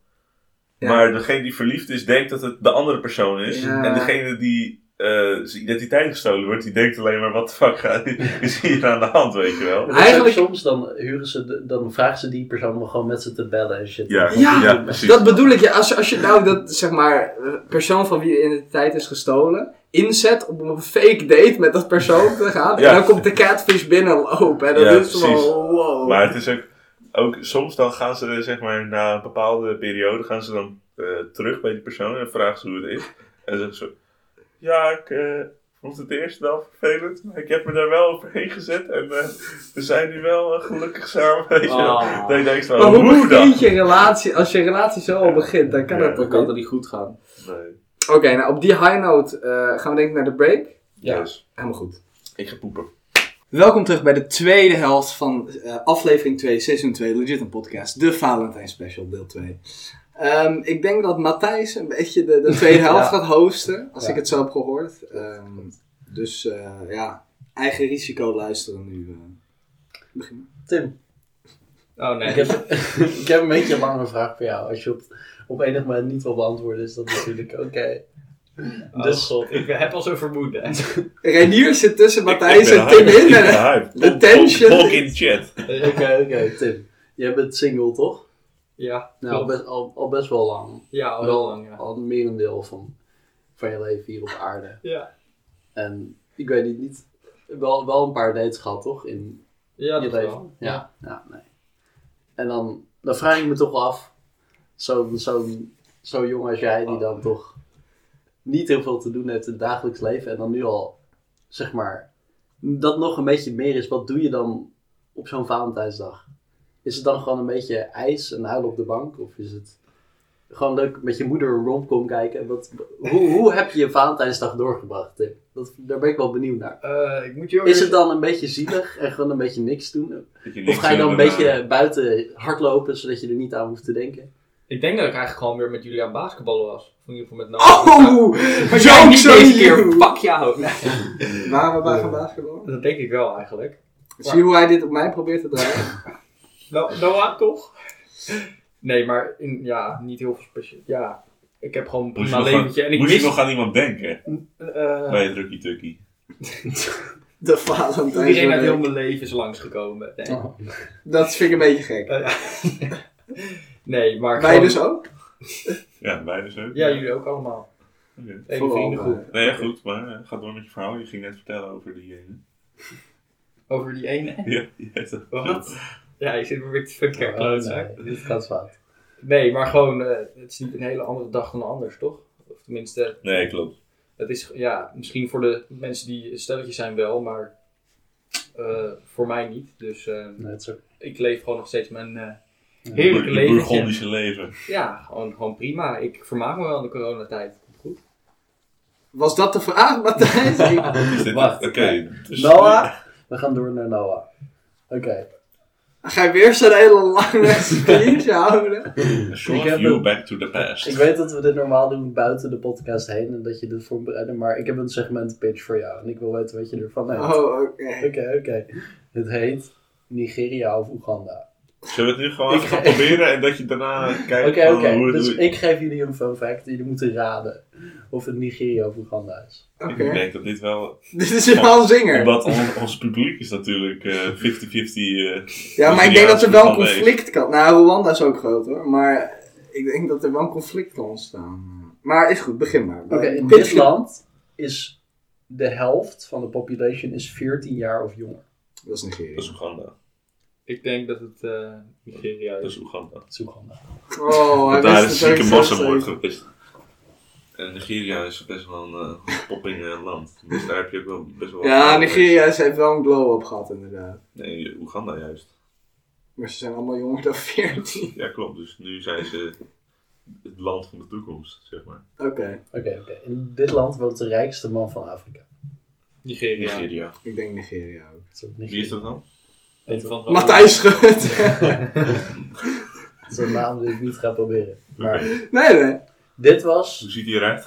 Speaker 1: Ja.
Speaker 3: Maar degene die verliefd is, denkt dat het de andere persoon is.
Speaker 1: Ja.
Speaker 3: En degene die eh, zijn identiteit gestolen wordt, die denkt alleen maar: wat de fuck gaat- <laughs> is hier aan de hand, weet je wel?
Speaker 4: Maar dat is ook
Speaker 1: Eigenlijk-
Speaker 4: soms dan, huren ze de- dan vragen ze die persoon om gewoon met ze te bellen en shit.
Speaker 3: Ja,
Speaker 1: Ja,
Speaker 3: precies.
Speaker 1: Dat bedoel ik, ja. Als, als je nou dat, zeg maar, eh, persoon van wie de identiteit is gestolen, inzet om op een fake date met dat persoon te gaan,
Speaker 3: Ja.
Speaker 1: en dan komt de catfish binnenlopen. En dan
Speaker 3: Ja,
Speaker 1: is het
Speaker 3: precies.
Speaker 1: wel, wow.
Speaker 3: Maar het is ook, ook soms dan gaan ze, zeg maar, na een bepaalde periode, gaan ze dan eh, terug bij die persoon en vragen ze hoe het is. En zeggen ze, ja, ik eh, vond het eerst wel vervelend, maar ik heb me daar wel overheen gezet en eh, we zijn nu wel eh, gelukkig samen, <laughs> weet je wel.
Speaker 2: Ah.
Speaker 3: Dan denk je van,
Speaker 1: Maar
Speaker 3: hoe,
Speaker 1: hoe
Speaker 3: dan?
Speaker 1: begint je relatie, als je relatie zo al begint, dan kan
Speaker 3: Ja,
Speaker 1: dat
Speaker 2: Dan
Speaker 1: toch
Speaker 2: kan
Speaker 1: niet?
Speaker 2: het niet goed gaan.
Speaker 3: Nee,
Speaker 1: Oké, nou op die high note eh, gaan we denk ik naar de break.
Speaker 4: Ja.
Speaker 3: dus
Speaker 1: Helemaal goed.
Speaker 3: ik ga poepen.
Speaker 1: Welkom terug bij de tweede helft van eh, aflevering 2, seizoen 2, Legit een Podcast, de Valentijn Special, deel 2. Ehm, ik denk dat Matthijs een beetje de, de tweede
Speaker 4: Ja.
Speaker 1: helft gaat hosten, als
Speaker 4: Ja.
Speaker 1: ik het zo heb gehoord. Ehm, dus eh, ja, eigen risico luisteren nu. eh. Begin.
Speaker 4: Tim,
Speaker 2: Oh nee.
Speaker 3: <laughs>
Speaker 4: ik, heb, <laughs> ik heb een beetje een lange vraag voor jou. Als je op, op enig moment niet wil beantwoorden, is dat natuurlijk oké.
Speaker 5: Oh,
Speaker 4: Dus-
Speaker 2: god, ik heb al zo vermoeden.
Speaker 3: <laughs>
Speaker 1: eh. Renier zit tussen Matthijs
Speaker 3: Ik- ik
Speaker 1: en
Speaker 3: ben
Speaker 1: Tim
Speaker 3: hyped, ik
Speaker 1: in.
Speaker 3: ben
Speaker 1: eh.
Speaker 3: hyped.
Speaker 1: de
Speaker 3: Pop, pop,
Speaker 1: tension
Speaker 3: pop in
Speaker 1: is-
Speaker 3: de chat.
Speaker 4: Oké, oké, Tim. Jij bent single, toch?
Speaker 2: Ja,
Speaker 4: Nou, al
Speaker 2: nou,
Speaker 4: best, al, al best wel lang.
Speaker 2: ja, al Oh, heel lang, ja.
Speaker 4: Al meer een deel van, van je leven hier op aarde.
Speaker 2: Ja,
Speaker 4: En ik weet niet, niet wel, wel een paar dates gehad, toch? In
Speaker 2: ja
Speaker 4: je
Speaker 2: dat
Speaker 4: leven.
Speaker 2: wel.
Speaker 4: Ja. ja, nee. En dan, dan vraag ik me toch wel af, zo'n zo, zo jong als jij, die dan toch niet heel veel te doen heeft in het dagelijks leven. En dan nu al, zeg maar, dat nog een beetje meer is. Wat doe je dan op zo'n Valentijnsdag? Is het dan gewoon een beetje ijs en huilen op de bank? Of is het gewoon leuk met je moeder een romcom kijken? Wat, hoe, hoe heb je je Valentijnsdag doorgebracht, Tim? Dat, daar ben ik wel benieuwd naar.
Speaker 2: Eh, ik moet je ook
Speaker 4: Is
Speaker 2: eerst-
Speaker 4: het dan een beetje zielig en gewoon een beetje niks doen?
Speaker 3: Dat je
Speaker 4: Of
Speaker 3: niks
Speaker 4: ga je dan een
Speaker 3: doet en, eh,
Speaker 4: beetje buiten hardlopen zodat je er niet aan hoeft te denken?
Speaker 5: Ik denk dat ik eigenlijk gewoon weer met jullie aan basketballen was. Of in ieder geval met
Speaker 1: <laughs>
Speaker 5: nou.
Speaker 1: Oh!
Speaker 5: maar jij niet
Speaker 1: Jokes on
Speaker 5: deze keer,
Speaker 1: you!
Speaker 5: fuck jou!
Speaker 1: Waren we bij gaan basketballen?
Speaker 5: Dat denk ik wel eigenlijk.
Speaker 1: Zie je hoe hij dit op mij probeert te draaien?
Speaker 5: Nou, nou toch? Nee, maar in, ja, niet heel veel speciaal. Ja, ik heb gewoon een
Speaker 3: Moest,
Speaker 5: prima
Speaker 3: je nog,
Speaker 5: leventje.
Speaker 3: aan,
Speaker 5: en ik
Speaker 3: moest
Speaker 5: mis...
Speaker 3: je nog aan iemand denken
Speaker 5: eh,
Speaker 3: bij het Rukkie Tukkie?
Speaker 1: De Valentijn.
Speaker 5: iedereen uit heel mijn leven is langsgekomen. Nee,
Speaker 1: Oh.
Speaker 5: <laughs>
Speaker 4: Oh.
Speaker 1: Dat vind ik een beetje gek.
Speaker 5: Eh, nee maar
Speaker 1: Wij
Speaker 5: gewoon-
Speaker 1: dus ook?
Speaker 3: Ja, wij dus ook.
Speaker 5: Ja, jullie ook allemaal.
Speaker 3: Oké.
Speaker 5: Even
Speaker 1: Vooral, eh,
Speaker 5: vriendengroep.
Speaker 3: Nee, ja, goed, maar eh, ga door met je verhaal. Je ging net vertellen over die ene. <laughs>
Speaker 5: Over die ene.
Speaker 3: Ja, die heeft dat-
Speaker 5: Wat? Ja, ik zit me weer te verkeerd.
Speaker 4: Oh, nee, dit gaat fout.
Speaker 5: Nee, maar gewoon, eh, het is niet een hele andere dag dan anders, toch? Of tenminste,
Speaker 3: Nee, klopt.
Speaker 5: het is, ja, misschien voor de mensen die stelletjes zijn wel, maar eh, voor mij niet. Dus eh,
Speaker 4: Nee, het is ook-
Speaker 5: ik leef gewoon nog steeds mijn eh,
Speaker 3: Je
Speaker 5: heerlijke
Speaker 3: Boer- je
Speaker 5: leventje.
Speaker 3: Bourgondische <laughs> leven.
Speaker 5: Ja, gewoon, gewoon prima. Ik vermaak me wel in de coronatijd. Komt goed.
Speaker 1: Was dat de vraag,
Speaker 3: <laughs>
Speaker 1: Matthijs? Ik-
Speaker 3: Is dit-
Speaker 4: Wacht,
Speaker 3: Oké. dus-
Speaker 4: Noah, we gaan door naar Noah. Oké,
Speaker 1: Ga je weer zo'n hele
Speaker 3: <laughs>
Speaker 1: lange speech houden?
Speaker 3: A short
Speaker 4: Ik heb
Speaker 3: view
Speaker 4: een-
Speaker 3: back to the past.
Speaker 4: ik weet dat we dit normaal doen buiten de podcast heen en dat je dit voorbereidt, maar ik heb een segment pitch voor jou en ik wil weten wat je ervan denkt. Oké,
Speaker 1: Oh, oké.
Speaker 4: oké. Het heet Nigeria of Oeganda.
Speaker 3: Zullen we het nu gewoon
Speaker 4: Ik
Speaker 3: even gaan
Speaker 4: ga-
Speaker 3: proberen en dat je <laughs> daarna
Speaker 4: Oké,
Speaker 3: kijkt
Speaker 4: oké.
Speaker 3: van hoe het
Speaker 4: Dus
Speaker 3: doe je-
Speaker 4: ik geef jullie een fun fact. Jullie moeten raden of het Nigeria of Oeganda is.
Speaker 1: Oké.
Speaker 3: Ik denk dat dit wel...
Speaker 1: Dit is helemaal een zinger.
Speaker 3: Omdat on- ons publiek is natuurlijk eh, 50-50... eh,
Speaker 1: Ja, maar ik denk dat er wel een
Speaker 3: Nigeriaans
Speaker 1: conflict kan. Nou, Rwanda is ook groot hoor. Maar ik denk dat er wel een conflict kan ontstaan. Maar is goed, begin maar.
Speaker 4: Oké, in dit land is de helft van de population is 14 jaar of jonger.
Speaker 1: Dat is
Speaker 3: Dat is
Speaker 1: Nigeria.
Speaker 3: Oeganda.
Speaker 5: Ik denk dat het eh, Nigeria
Speaker 3: Dat
Speaker 5: is.
Speaker 3: is Oeganda.
Speaker 4: Dat is Oeganda.
Speaker 1: Oh, hij
Speaker 3: Want daar
Speaker 1: wist
Speaker 3: is
Speaker 1: het ook
Speaker 3: zieke
Speaker 1: zelf
Speaker 3: massa wordt
Speaker 1: even.
Speaker 3: gepist. En Nigeria is best wel een eh, popping eh, land. Dus daar heb je ook wel best wel...
Speaker 1: Ja, Nigeria is- heeft wel een glow-up gehad inderdaad.
Speaker 3: Nee, Oeganda juist.
Speaker 1: Maar ze zijn allemaal jonger dan 14.
Speaker 3: Ja, klopt. Dus nu zijn ze het land van de toekomst, zeg maar.
Speaker 1: Oké,
Speaker 4: Oké, oké. In dit land woont de rijkste man van Afrika.
Speaker 5: Nigeria.
Speaker 3: Nigeria.
Speaker 1: ik denk Nigeria ook.
Speaker 4: Dat is ook
Speaker 3: Wie is dat
Speaker 4: Nigeria.
Speaker 3: dan?
Speaker 5: Een van
Speaker 3: Oh.
Speaker 5: de-
Speaker 1: Matthijs Schut. <laughs>
Speaker 4: Dat is een naam die ik niet ga proberen. Maar
Speaker 1: nee, nee.
Speaker 4: dit
Speaker 3: Hoe
Speaker 4: was,
Speaker 3: ziet hij eruit?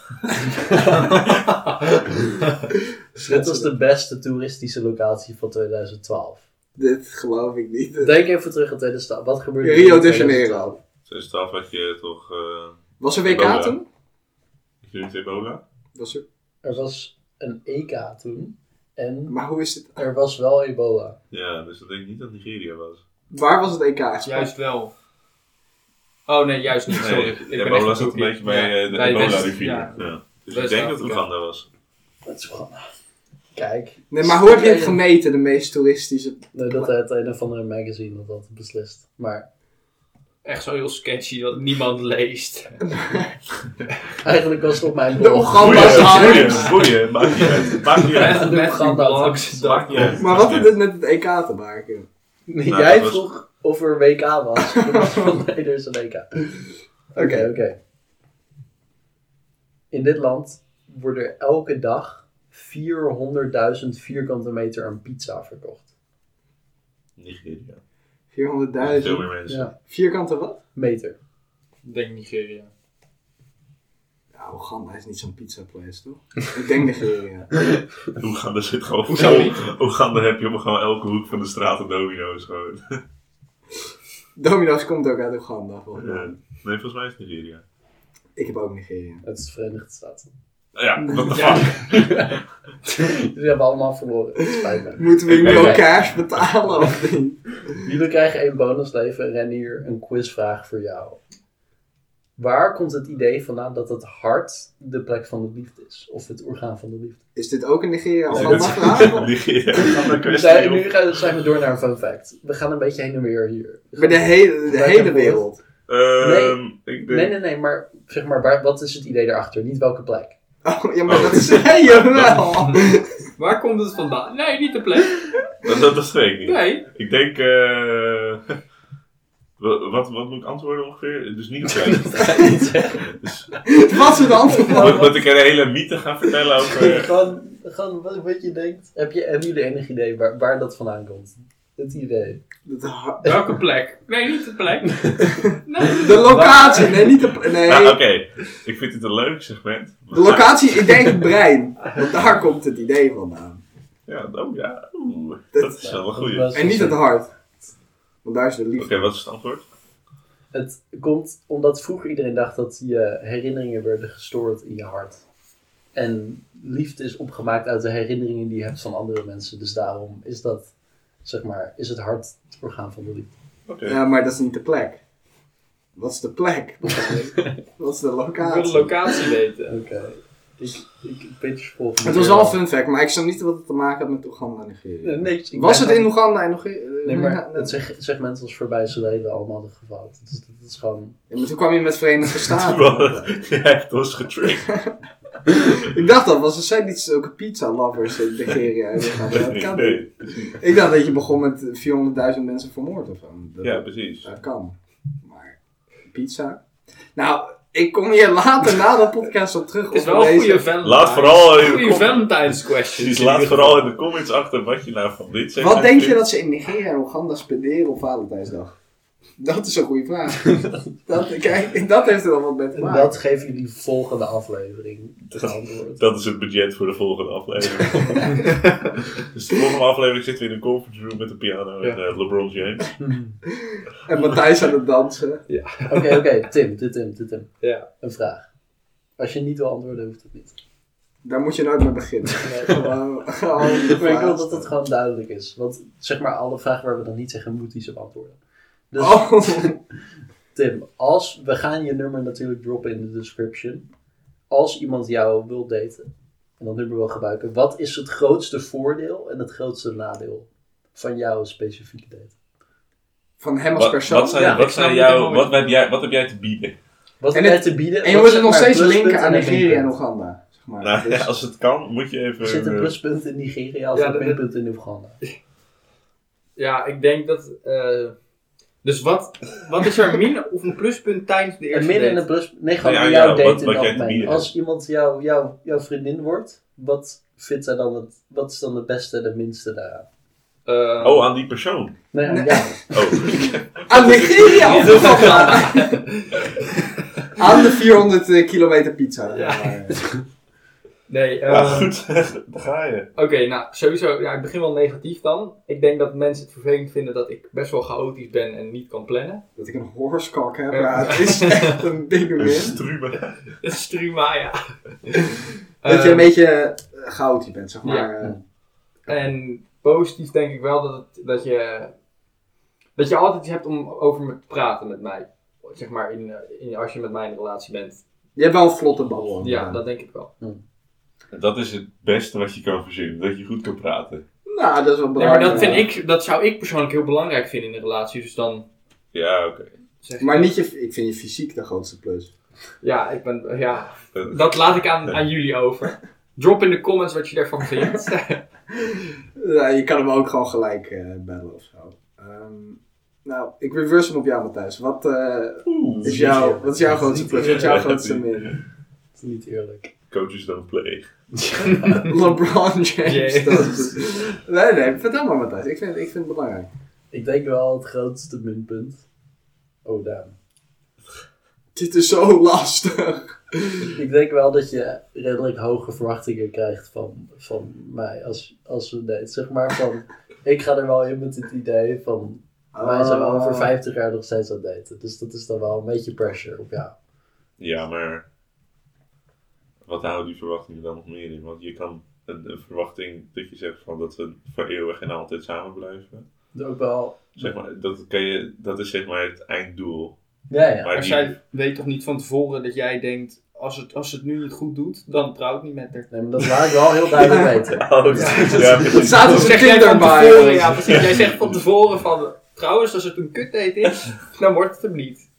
Speaker 4: dit was de beste toeristische locatie van 2012.
Speaker 1: Dit geloof ik niet.
Speaker 4: Denk even terug aan 2012. Wat gebeurde er in
Speaker 1: Rio de
Speaker 4: 2012?
Speaker 1: Janeiro.
Speaker 3: 2012 had je toch... eh,
Speaker 1: Was er WK
Speaker 3: Ebola.
Speaker 1: toen?
Speaker 3: Ik noem het ebola.
Speaker 1: Was er...
Speaker 4: Er was een EK toen. En
Speaker 1: Maar hoe is het?
Speaker 4: er was wel ebola.
Speaker 3: Ja, dus dat denk ik niet dat Nigeria was.
Speaker 1: Waar was het E EK?
Speaker 5: Juist wel. Oh nee, juist niet,
Speaker 3: Nee,
Speaker 5: sorry.
Speaker 3: ebola zat een beetje bij eh, de ebola-rivier.
Speaker 5: Ja.
Speaker 3: Ja. Dus ik
Speaker 5: West-
Speaker 3: denk dat het
Speaker 5: Afrika.
Speaker 3: Oeganda was.
Speaker 4: Dat is Oeganda. Kijk.
Speaker 1: Nee, maar hoe heb je het gemeten, de meest toeristische? <laughs>
Speaker 4: Nee, dat uit een of andere magazine dat dat beslist. Maar
Speaker 5: Echt zo heel sketchy dat niemand
Speaker 3: <laughs>
Speaker 5: leest.
Speaker 4: <laughs> eigenlijk was het op mijn
Speaker 1: De
Speaker 4: blog.
Speaker 1: Oeganda
Speaker 3: Boeien, boeien,
Speaker 1: Times.
Speaker 3: boeien. Maakt niet uit. Maakt niet uit.
Speaker 5: Met,
Speaker 4: Met
Speaker 5: met die
Speaker 4: Oeganda.
Speaker 5: blogs.
Speaker 3: Maakt niet uit.
Speaker 1: Maar wat heeft het met het EK te maken?
Speaker 4: Nee,
Speaker 3: Nou,
Speaker 4: Jij
Speaker 3: dat was-
Speaker 4: vroeg of er een WK <laughs> was. Ik was van, nee, er is een WK. Oké,
Speaker 1: Oké.
Speaker 4: oké. In dit land wordt er elke dag 400.000 vierkante meter aan pizza verkocht.
Speaker 3: Nigeria.
Speaker 1: 400.000.
Speaker 3: Veel meer mensen.
Speaker 4: Ja.
Speaker 1: Vierkante wat?
Speaker 4: Dus Meter.
Speaker 5: Ik denk Nigeria.
Speaker 1: Ja, Oeganda is niet zo'n pizza place, toch? ik denk Nigeria.
Speaker 3: Oeganda zit gewoon
Speaker 5: Hoezo
Speaker 3: vol.
Speaker 5: niet?
Speaker 3: Oeganda heb je op gewoon elke hoek van de straat een domino's gewoon.
Speaker 1: Domino's komt ook uit Oeganda, volgens mij.
Speaker 3: Ja. Nee, volgens mij is het Nigeria.
Speaker 1: Ik heb ook Nigeria.
Speaker 4: Het is de Verenigde Staten. <laughs>
Speaker 3: Ja, what the fuck.
Speaker 4: Jullie hebben allemaal verloren. Het spijt me.
Speaker 1: <laughs>
Speaker 4: <laughs>
Speaker 1: Moeten we
Speaker 3: Ik
Speaker 1: nu
Speaker 3: weet
Speaker 1: al
Speaker 4: het.
Speaker 1: cash betalen of niet?
Speaker 4: Jullie krijgen één bonusleven. Renier, een quizvraag voor jou. Waar komt het idee vandaan dat het hart de plek van de liefde is? Of het orgaan van de liefde?
Speaker 1: Is dit ook in Nigeria?
Speaker 3: Is
Speaker 1: Of
Speaker 3: dit-
Speaker 1: <laughs> wat mag
Speaker 3: <laughs>
Speaker 1: het?
Speaker 3: Nigeria. Oeganda
Speaker 4: We
Speaker 3: kwestie,
Speaker 4: zijn,
Speaker 3: joh.
Speaker 4: nu gaan, zijn we door naar een fun fact. We gaan een beetje heen en weer hier.
Speaker 1: Bij de hele, de
Speaker 4: Back
Speaker 1: hele
Speaker 4: and
Speaker 1: wereld.
Speaker 3: Ehm, ik denk...
Speaker 4: Nee, nee, nee, maar zeg maar, waar, wat is het idee daarachter? Niet welke
Speaker 3: <laughs>
Speaker 4: plek.
Speaker 1: Oh, ja, maar
Speaker 3: Oh.
Speaker 1: dat <laughs> zei je wel.
Speaker 5: Waar komt het vandaan? Nee, niet de plek.
Speaker 3: Dat, dat, dat weet ik niet.
Speaker 5: Nee.
Speaker 3: Ik denk... eh, <laughs> wa- wat, wat moet ik antwoorden ongeveer? Dus niet op tijd.
Speaker 4: Dat ga ik niet zeggen. <laughs>
Speaker 3: Dus,
Speaker 1: Wat is het antwoord?
Speaker 3: moet, moet ik een hele mythe gaan vertellen over...
Speaker 4: <laughs> gewoon, gewoon wat, wat je denkt. Heb je, hebben jullie enig idee waar, waar dat vandaan komt? het idee.
Speaker 1: Dat ha-
Speaker 2: Welke plek? Nee, niet de plek. Nee.
Speaker 1: De locatie, nee, niet de. Nee,
Speaker 3: Nou, oké. Ik vind het een leuk segment.
Speaker 1: de locatie, ik denk het brein. Want daar komt het idee vandaan.
Speaker 3: Ja, oh ja. Oeh, dat is wel een goeie. Oké,
Speaker 4: was- dus
Speaker 1: En niet het hart. Want daar is de liefde.
Speaker 3: wat is het antwoord?
Speaker 4: Het komt omdat vroeger iedereen dacht dat je herinneringen werden gestoord in je hart. En liefde is opgemaakt uit de herinneringen die je hebt van andere mensen. Dus daarom is dat, zeg maar, is het hart het orgaan van de liefde.
Speaker 3: Oké. <laughs>
Speaker 1: Ja, maar dat is niet de plek. Wat is de plek? Wat is de
Speaker 5: Ik wil de
Speaker 1: locatie?
Speaker 5: locatie weten.
Speaker 4: Oké. Ik, ik, ik weet je volgende
Speaker 1: Het was
Speaker 4: keer
Speaker 1: wel een fun fact, maar ik snap niet wat het te maken had met Oeganda en Nigeria.
Speaker 4: Nee, niks. Ik
Speaker 1: Was
Speaker 4: ben
Speaker 1: het in
Speaker 4: gewoon-
Speaker 1: Oeganda en Nigeria?
Speaker 4: Nee, maar het zeg- segment was voorbij zodat we allemaal de geval. Dus dat is gewoon...
Speaker 1: Ja, maar toen kwam je met
Speaker 3: <laughs>
Speaker 1: Verenigde
Speaker 3: Wel,
Speaker 1: Staten.
Speaker 3: <laughs> Jij hebt ons getriggerd.
Speaker 1: ik dacht dat, want ze zijn niet zulke pizza lovers in
Speaker 3: <laughs>
Speaker 1: Nigeria. en Oeganda. Dat
Speaker 3: Nee,
Speaker 1: kan niet.
Speaker 3: nee.
Speaker 1: Ik dacht dat je begon met 400.000 mensen vermoord of zo. Dat,
Speaker 3: Ja, precies.
Speaker 1: dat kan. Maar pizza? Nou, ik kom hier later na de podcast op terug.
Speaker 5: Het is
Speaker 1: op
Speaker 5: wel een
Speaker 1: deze-
Speaker 5: goede Valentine's.
Speaker 3: Laat vooral in de
Speaker 5: Goede
Speaker 3: comments,
Speaker 5: Valentine's
Speaker 3: <laughs>
Speaker 5: question.
Speaker 3: precies, laat vooral in de comments achter wat je nou van dit zegt.
Speaker 1: Wat denk je dat ze in Nigeria en Oeganda spenderen op Valentijnsdag? Dat is een goede vraag. dat, kijk, dat heeft er dan wat mee te
Speaker 4: En
Speaker 1: maken.
Speaker 4: dat geven jullie volgende aflevering te antwoord.
Speaker 3: Dat is het budget voor de volgende aflevering. <laughs> dus de volgende aflevering zitten we in een conference room met een piano en eh, LeBron James.
Speaker 1: En Matthijs aan het dansen.
Speaker 4: Oké, Hmm. oké. Tim, dit Tim, dit Tim.
Speaker 5: <laughs> Ja.
Speaker 4: Een vraag. Als je niet wil antwoorden, hoeft het niet.
Speaker 1: Daar moet je nooit mee beginnen. <laughs> Gewoon- gewoon
Speaker 4: <laughs> Maar ik wil
Speaker 1: vragen.
Speaker 4: dat het gewoon duidelijk is. Want zeg maar, alle vragen waar we dan niet zeggen, moet hij ze beantwoorden. Dus
Speaker 1: Oh,
Speaker 4: Tim, als, we gaan je nummer natuurlijk droppen in de description. Als iemand jou wil daten en dat nummer wil gebruiken, wat is het grootste voordeel en het grootste nadeel van jouw specifieke date?
Speaker 1: van hem als
Speaker 3: Wat,
Speaker 1: persoon.
Speaker 3: wat, zijn,
Speaker 4: Ja,
Speaker 3: wat,
Speaker 5: ik
Speaker 3: zijn
Speaker 5: snap
Speaker 3: jou-
Speaker 5: niet helemaal
Speaker 3: wat, heb jij, wat heb jij te bieden?
Speaker 4: Wat
Speaker 1: En
Speaker 4: heb jij
Speaker 1: het-
Speaker 4: te bieden?
Speaker 1: en je
Speaker 4: Wat
Speaker 1: moet
Speaker 4: zeg
Speaker 1: het nog
Speaker 4: maar
Speaker 1: steeds
Speaker 4: pluspunten
Speaker 1: linken aan
Speaker 4: en een
Speaker 1: Nigeria en
Speaker 4: minpunt?
Speaker 1: Oeganda. Zeg maar.
Speaker 3: Nou,
Speaker 1: Dus-
Speaker 3: <laughs> als het kan, moet je even...
Speaker 4: Er zit een
Speaker 3: eh,
Speaker 4: pluspunt in Nigeria als
Speaker 5: Ja,
Speaker 4: een
Speaker 5: dat-
Speaker 4: minpunt in Oeganda.
Speaker 5: Ja, ik denk dat... eh, dus wat, wat is er een min of een pluspunt tijdens de
Speaker 4: Een
Speaker 5: eerste
Speaker 4: midden en een
Speaker 5: date?
Speaker 4: plus. Nee, gewoon
Speaker 3: Nou
Speaker 4: voor
Speaker 3: ja,
Speaker 4: jou
Speaker 3: ja,
Speaker 4: date
Speaker 3: wat-
Speaker 4: in het
Speaker 3: wat jij te
Speaker 4: algemeen.
Speaker 3: bieden
Speaker 4: Als iemand jou, jou, jouw vriendin wordt, wat vindt zij dan het, wat is dan het beste en het minste daaraan?
Speaker 5: Eh,
Speaker 3: Oh, aan die persoon.
Speaker 4: Nee, aan
Speaker 1: Nee.
Speaker 4: jou.
Speaker 1: <laughs>
Speaker 3: Oh,
Speaker 1: Aan Nigeria of Oeganda? aan de 400 eh, kilometer pizza.
Speaker 5: Ja.
Speaker 1: zeg maar.
Speaker 5: nee, eh,
Speaker 3: ja, goed. <laughs> Daar ga je.
Speaker 5: Oké, nou sowieso, ja, ik begin wel negatief dan. Ik denk dat mensen het vervelend vinden dat ik best wel chaotisch ben en niet kan plannen. <laughs>
Speaker 1: Dat ik een horskak heb.
Speaker 5: Ja.
Speaker 1: Ja,
Speaker 5: Dus,
Speaker 1: het is echt een ding
Speaker 3: Een
Speaker 1: meer.
Speaker 3: struwe.
Speaker 5: Dat is Struma, ja. Ehm,
Speaker 1: Dat je een beetje goud goud bent, zeg maar.
Speaker 5: eh, Ja.
Speaker 1: Eh,
Speaker 5: En positief denk ik wel dat, het- dat, je, dat je altijd iets hebt om over me te praten met mij. Zeg maar, in, eh, in, als je met mij in een relatie bent.
Speaker 1: Je hebt wel een vlotte bal.
Speaker 5: Ja, dat denk ik wel.
Speaker 3: Dat is het beste wat je kan verzinnen. Dat je goed kan praten.
Speaker 1: Nou, dat is wel
Speaker 5: Nee, maar
Speaker 1: belangrijk.
Speaker 5: dat, vind ik, dat zou ik persoonlijk heel belangrijk vinden in een relatie. Dus dan
Speaker 3: Ja, oké.
Speaker 5: zeg ik-
Speaker 1: Maar niet je, ik vind je fysiek de grootste plus.
Speaker 5: Ja, ik ben, ja,
Speaker 3: Eh,
Speaker 5: dat laat ik
Speaker 3: <laughs>
Speaker 5: aan, aan jullie over. Drop in de comments wat je daarvan vindt.
Speaker 1: Ja, je kan hem ook gewoon gelijk eh, bellen of zo. Ehm, nou, ik reverse hem op jou, Matthijs. Wat, eh,
Speaker 3: Oeh.
Speaker 1: is jou, wat is jouw
Speaker 3: <laughs>
Speaker 1: grootste plus? Wat is
Speaker 5: <laughs>
Speaker 1: jouw grootste min?
Speaker 4: Dat is niet eerlijk.
Speaker 3: Coaches don't play.
Speaker 1: <laughs> LeBron James.
Speaker 5: James.
Speaker 1: dat is- nee, nee, vertel maar, Matthijs. Ik vind, ik vind het belangrijk.
Speaker 4: Ik denk wel het grootste minpunt. Oh, Daan.
Speaker 1: Dit is zo <laughs> lastig.
Speaker 4: Ik denk wel dat je redelijk hoge verwachtingen krijgt van, van mij als, als we date. Zeg maar van, ik ga er wel in met het idee van, Ah, wij zijn wel over 50 jaar nog steeds aan het daten. Dus dat is dan wel een beetje pressure op jou.
Speaker 3: Ja, maar wat houden die verwachtingen dan nog meer in? Want je kan een, een verwachting dat je zegt van dat we voor eeuwig en altijd samen blijven.
Speaker 4: Ook wel,
Speaker 3: Zeg maar, dat, kan je, dat is zeg maar het einddoel.
Speaker 4: ja ja.
Speaker 3: Maar
Speaker 5: Als
Speaker 3: die-
Speaker 5: jij weet toch niet van tevoren dat jij denkt, als het, als het nu niet goed doet, dan trouw ik niet met haar.
Speaker 4: Nee, maar dat laat ik wel heel duidelijk weten.
Speaker 3: Oh, dat is- <laughs> ja,
Speaker 1: Het
Speaker 3: precies.
Speaker 1: staat
Speaker 5: Dat
Speaker 1: op
Speaker 5: zeg
Speaker 1: zijn
Speaker 5: jij van
Speaker 1: kinderbaan.
Speaker 5: tevoren, ja precies. Jij zegt
Speaker 3: <laughs>
Speaker 5: van tevoren van, trouwens als het een kutdate is, dan wordt het hem niet.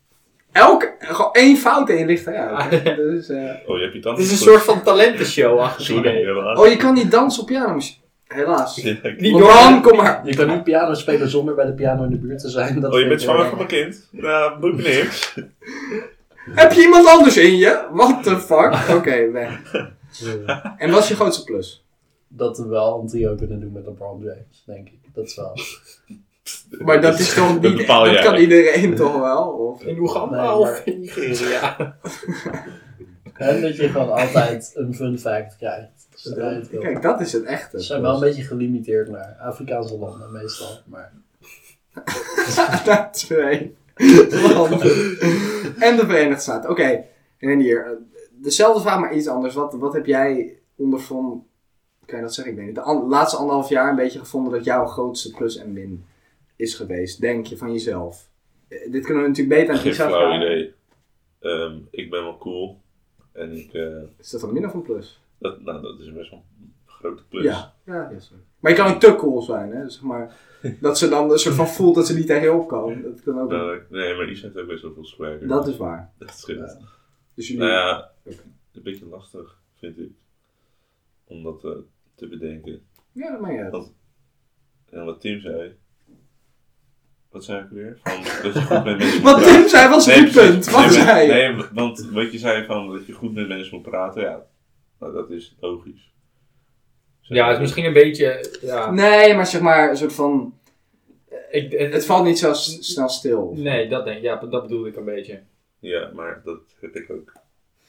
Speaker 1: Elke, gewoon één fout en je ligt eruit.
Speaker 5: Ah, ja.
Speaker 1: Dus, eh,
Speaker 3: Oh, je hebt je
Speaker 5: Het
Speaker 3: tanden
Speaker 5: is een
Speaker 3: gepoetst.
Speaker 5: soort van talentenshow-achtig
Speaker 3: Sorry,
Speaker 5: idee.
Speaker 3: helaas.
Speaker 1: Oh,
Speaker 3: <laughs>
Speaker 1: je kan niet dansen op pianomuziek. Helaas.
Speaker 5: Niet
Speaker 1: LeBron, kom maar.
Speaker 4: Je kan niet piano spelen zonder bij de piano in de buurt te zijn. Dat
Speaker 3: Oh, je
Speaker 4: vind
Speaker 3: bent
Speaker 4: ik
Speaker 3: zwanger
Speaker 4: heel
Speaker 3: van
Speaker 4: erg.
Speaker 3: mijn kind? Nou, doe ik niks.
Speaker 1: Heb je iemand anders in je? What the fuck? Oké, weg.
Speaker 4: Ja.
Speaker 1: En wat is je grootste plus?
Speaker 4: Dat we wel een trio kunnen doen met LeBron James, denk ik. Dat is wel.
Speaker 1: Maar dat is toch
Speaker 3: <laughs> dat
Speaker 1: niet...
Speaker 3: bepaal
Speaker 1: Dat
Speaker 3: jij.
Speaker 1: kan iedereen toch wel? Of...
Speaker 5: In
Speaker 4: Nee,
Speaker 5: Oeganda
Speaker 4: maar-
Speaker 5: of in Nigeria?
Speaker 4: En dat je gewoon altijd een fun fact krijgt. Zodra je het wil.
Speaker 1: Kijk, dat is het echte.
Speaker 4: Ze zijn wel een beetje gelimiteerd naar Afrikaanse landen meestal. Maar
Speaker 1: Na twee landen. en de Verenigde Staten. Oké, en hier. eh, Dezelfde vraag, maar iets anders. Wat, wat heb jij ondervonden? Kan je dat zeggen? Ik weet niet. De an- laatste anderhalf jaar een beetje gevonden dat jouw grootste plus en min is geweest. Denk je van jezelf? Eh, dit kunnen we natuurlijk beter aan
Speaker 3: Geen
Speaker 1: Gisa
Speaker 3: flauw
Speaker 1: vragen.
Speaker 3: idee. Ehm, ik ben wel cool. En ik, eh,
Speaker 1: Is dat een min of een plus?
Speaker 3: dat, nou, dat is best wel een grote plus.
Speaker 1: Ja. ja yes, maar je kan ook te cool zijn, hè? Dus zeg maar, dat ze dan een soort van voelt dat ze niet tegen je op kan. Dat kan ook.
Speaker 3: Nou, nee, maar die zijn ook best wel veel swagger.
Speaker 1: Dat is waar.
Speaker 3: Dat scheelt.
Speaker 1: Dus jullie...
Speaker 3: Nou ja,
Speaker 1: Oké.
Speaker 3: een beetje lastig, vind ik. Om dat eh, te bedenken.
Speaker 1: Ja, dat meen je. uit.
Speaker 3: En wat Tim zei. Wat zei ik weer? Van, dat je
Speaker 1: <laughs>
Speaker 3: goed met mensen moet
Speaker 1: Wat
Speaker 3: praten.
Speaker 1: Tim zei was
Speaker 3: Nee,
Speaker 1: het
Speaker 3: precies.
Speaker 1: punt. Wat
Speaker 3: nee, maar-
Speaker 1: zei je?
Speaker 3: Nee, wa- want wat je zei van dat je goed met mensen moet praten, ja, nou, dat is logisch. Zeg
Speaker 5: Ja,
Speaker 3: maar.
Speaker 5: het is misschien een beetje. Ja,
Speaker 1: Nee, maar zeg maar een soort van...
Speaker 5: ik, het-
Speaker 1: Het valt niet zo s- snel stil.
Speaker 5: Nee, dat denk ik. Ja, dat bedoelde ik een beetje.
Speaker 3: Ja, maar dat heb ik ook.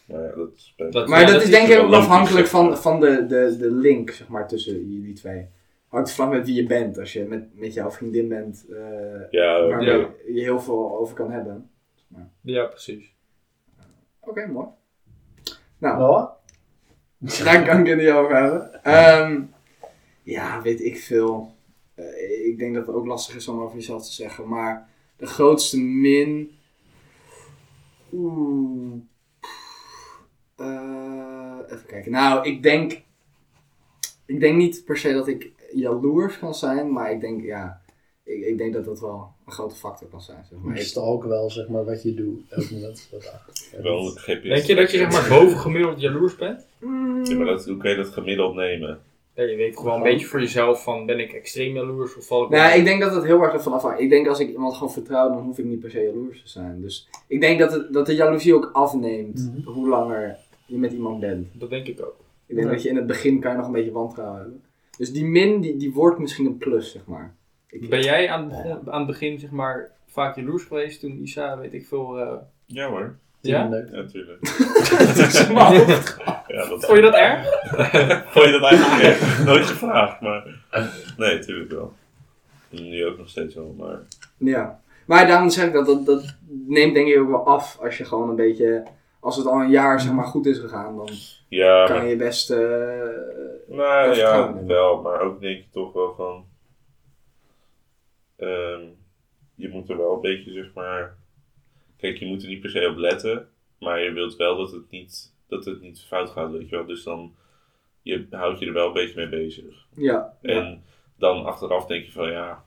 Speaker 3: Maar ja, dat is
Speaker 5: Dat-
Speaker 1: Maar
Speaker 5: Ja,
Speaker 1: dat is
Speaker 5: is
Speaker 1: denk ik
Speaker 3: wel
Speaker 1: ook
Speaker 3: logisch,
Speaker 1: afhankelijk
Speaker 3: zeg maar.
Speaker 1: van, van de, de, de link zeg maar, tussen jullie twee. Hangt vlak met wie je bent. Als je met, met jouw vriendin bent, eh
Speaker 3: Oh, Ja, oké.
Speaker 1: waar
Speaker 5: ja.
Speaker 1: je heel veel over kan hebben.
Speaker 5: Ja, precies.
Speaker 1: Oké, mooi. Nou,
Speaker 4: Noah?
Speaker 1: daar kan ik het niet over hebben. Ehm, ja, weet ik veel. Eh, ik denk dat het ook lastig is om over jezelf te zeggen. Maar de grootste min. Oeh. Eh, even kijken. Nou, ik denk. Ik denk niet per se dat ik jaloers kan zijn. Maar ik denk, ja. Ik, ik denk dat dat wel een grote factor kan zijn. Zeg maar.
Speaker 4: Ik
Speaker 1: Ik-
Speaker 4: stalk wel zeg maar wat je doet. Elk moment van de dag. Ja,
Speaker 3: wel
Speaker 4: dat-
Speaker 3: een GPS.
Speaker 5: Denk je dat je zeg maar bovengemiddeld jaloers bent?
Speaker 3: Ja,
Speaker 1: Mm.
Speaker 3: maar dat, hoe kun je dat gemiddeld nemen?
Speaker 5: Ja, je weet gewoon een beetje voor jezelf van ben ik extreem jaloers of val ik
Speaker 1: Nou, ik denk dat het heel erg ervan afhangt. Ik denk als ik iemand gewoon vertrouw, dan hoef ik niet per se jaloers te zijn. Dus ik denk dat, het, dat de jaloezie ook afneemt
Speaker 4: Mhm.
Speaker 1: hoe langer je met iemand bent.
Speaker 5: Dat denk ik ook.
Speaker 1: Ik denk
Speaker 4: Ja.
Speaker 1: dat je in het begin kan je nog een beetje wantrouwen hebben. Dus die min, die, die wordt misschien een plus, zeg maar. Ik,
Speaker 5: Ben jij aan het, begon- aan het begin zeg maar vaak jaloers geweest toen Isa, weet ik veel... eh,
Speaker 3: Ja hoor,
Speaker 5: ja?
Speaker 4: leuk.
Speaker 3: ja, natuurlijk.
Speaker 1: Maar-
Speaker 3: Ja, dat...
Speaker 5: Vond je dat erg?
Speaker 3: Vond je dat eigenlijk echt? <laughs> nooit gevraagd, maar... Nee, natuurlijk wel. Nu ook nog steeds wel, maar...
Speaker 1: <laughs> ja. Maar daarom zeg ik dat, dat, dat neemt denk ik ook wel af als je gewoon een beetje, als het al een jaar zeg maar goed is gegaan, dan
Speaker 3: Ja, maar
Speaker 1: kan je best, eh,
Speaker 3: Nou
Speaker 1: Dat
Speaker 3: ja,
Speaker 1: vertrouwen hebben.
Speaker 3: wel, maar ook denk je toch wel van. ehm, je moet er wel een beetje, zeg maar. Kijk, je moet er niet per se op letten, maar je wilt wel dat het niet, dat het niet fout gaat, weet je wel. Dus dan je, houd je er wel een beetje mee bezig.
Speaker 1: ja. ja.
Speaker 3: En dan achteraf denk je van ja.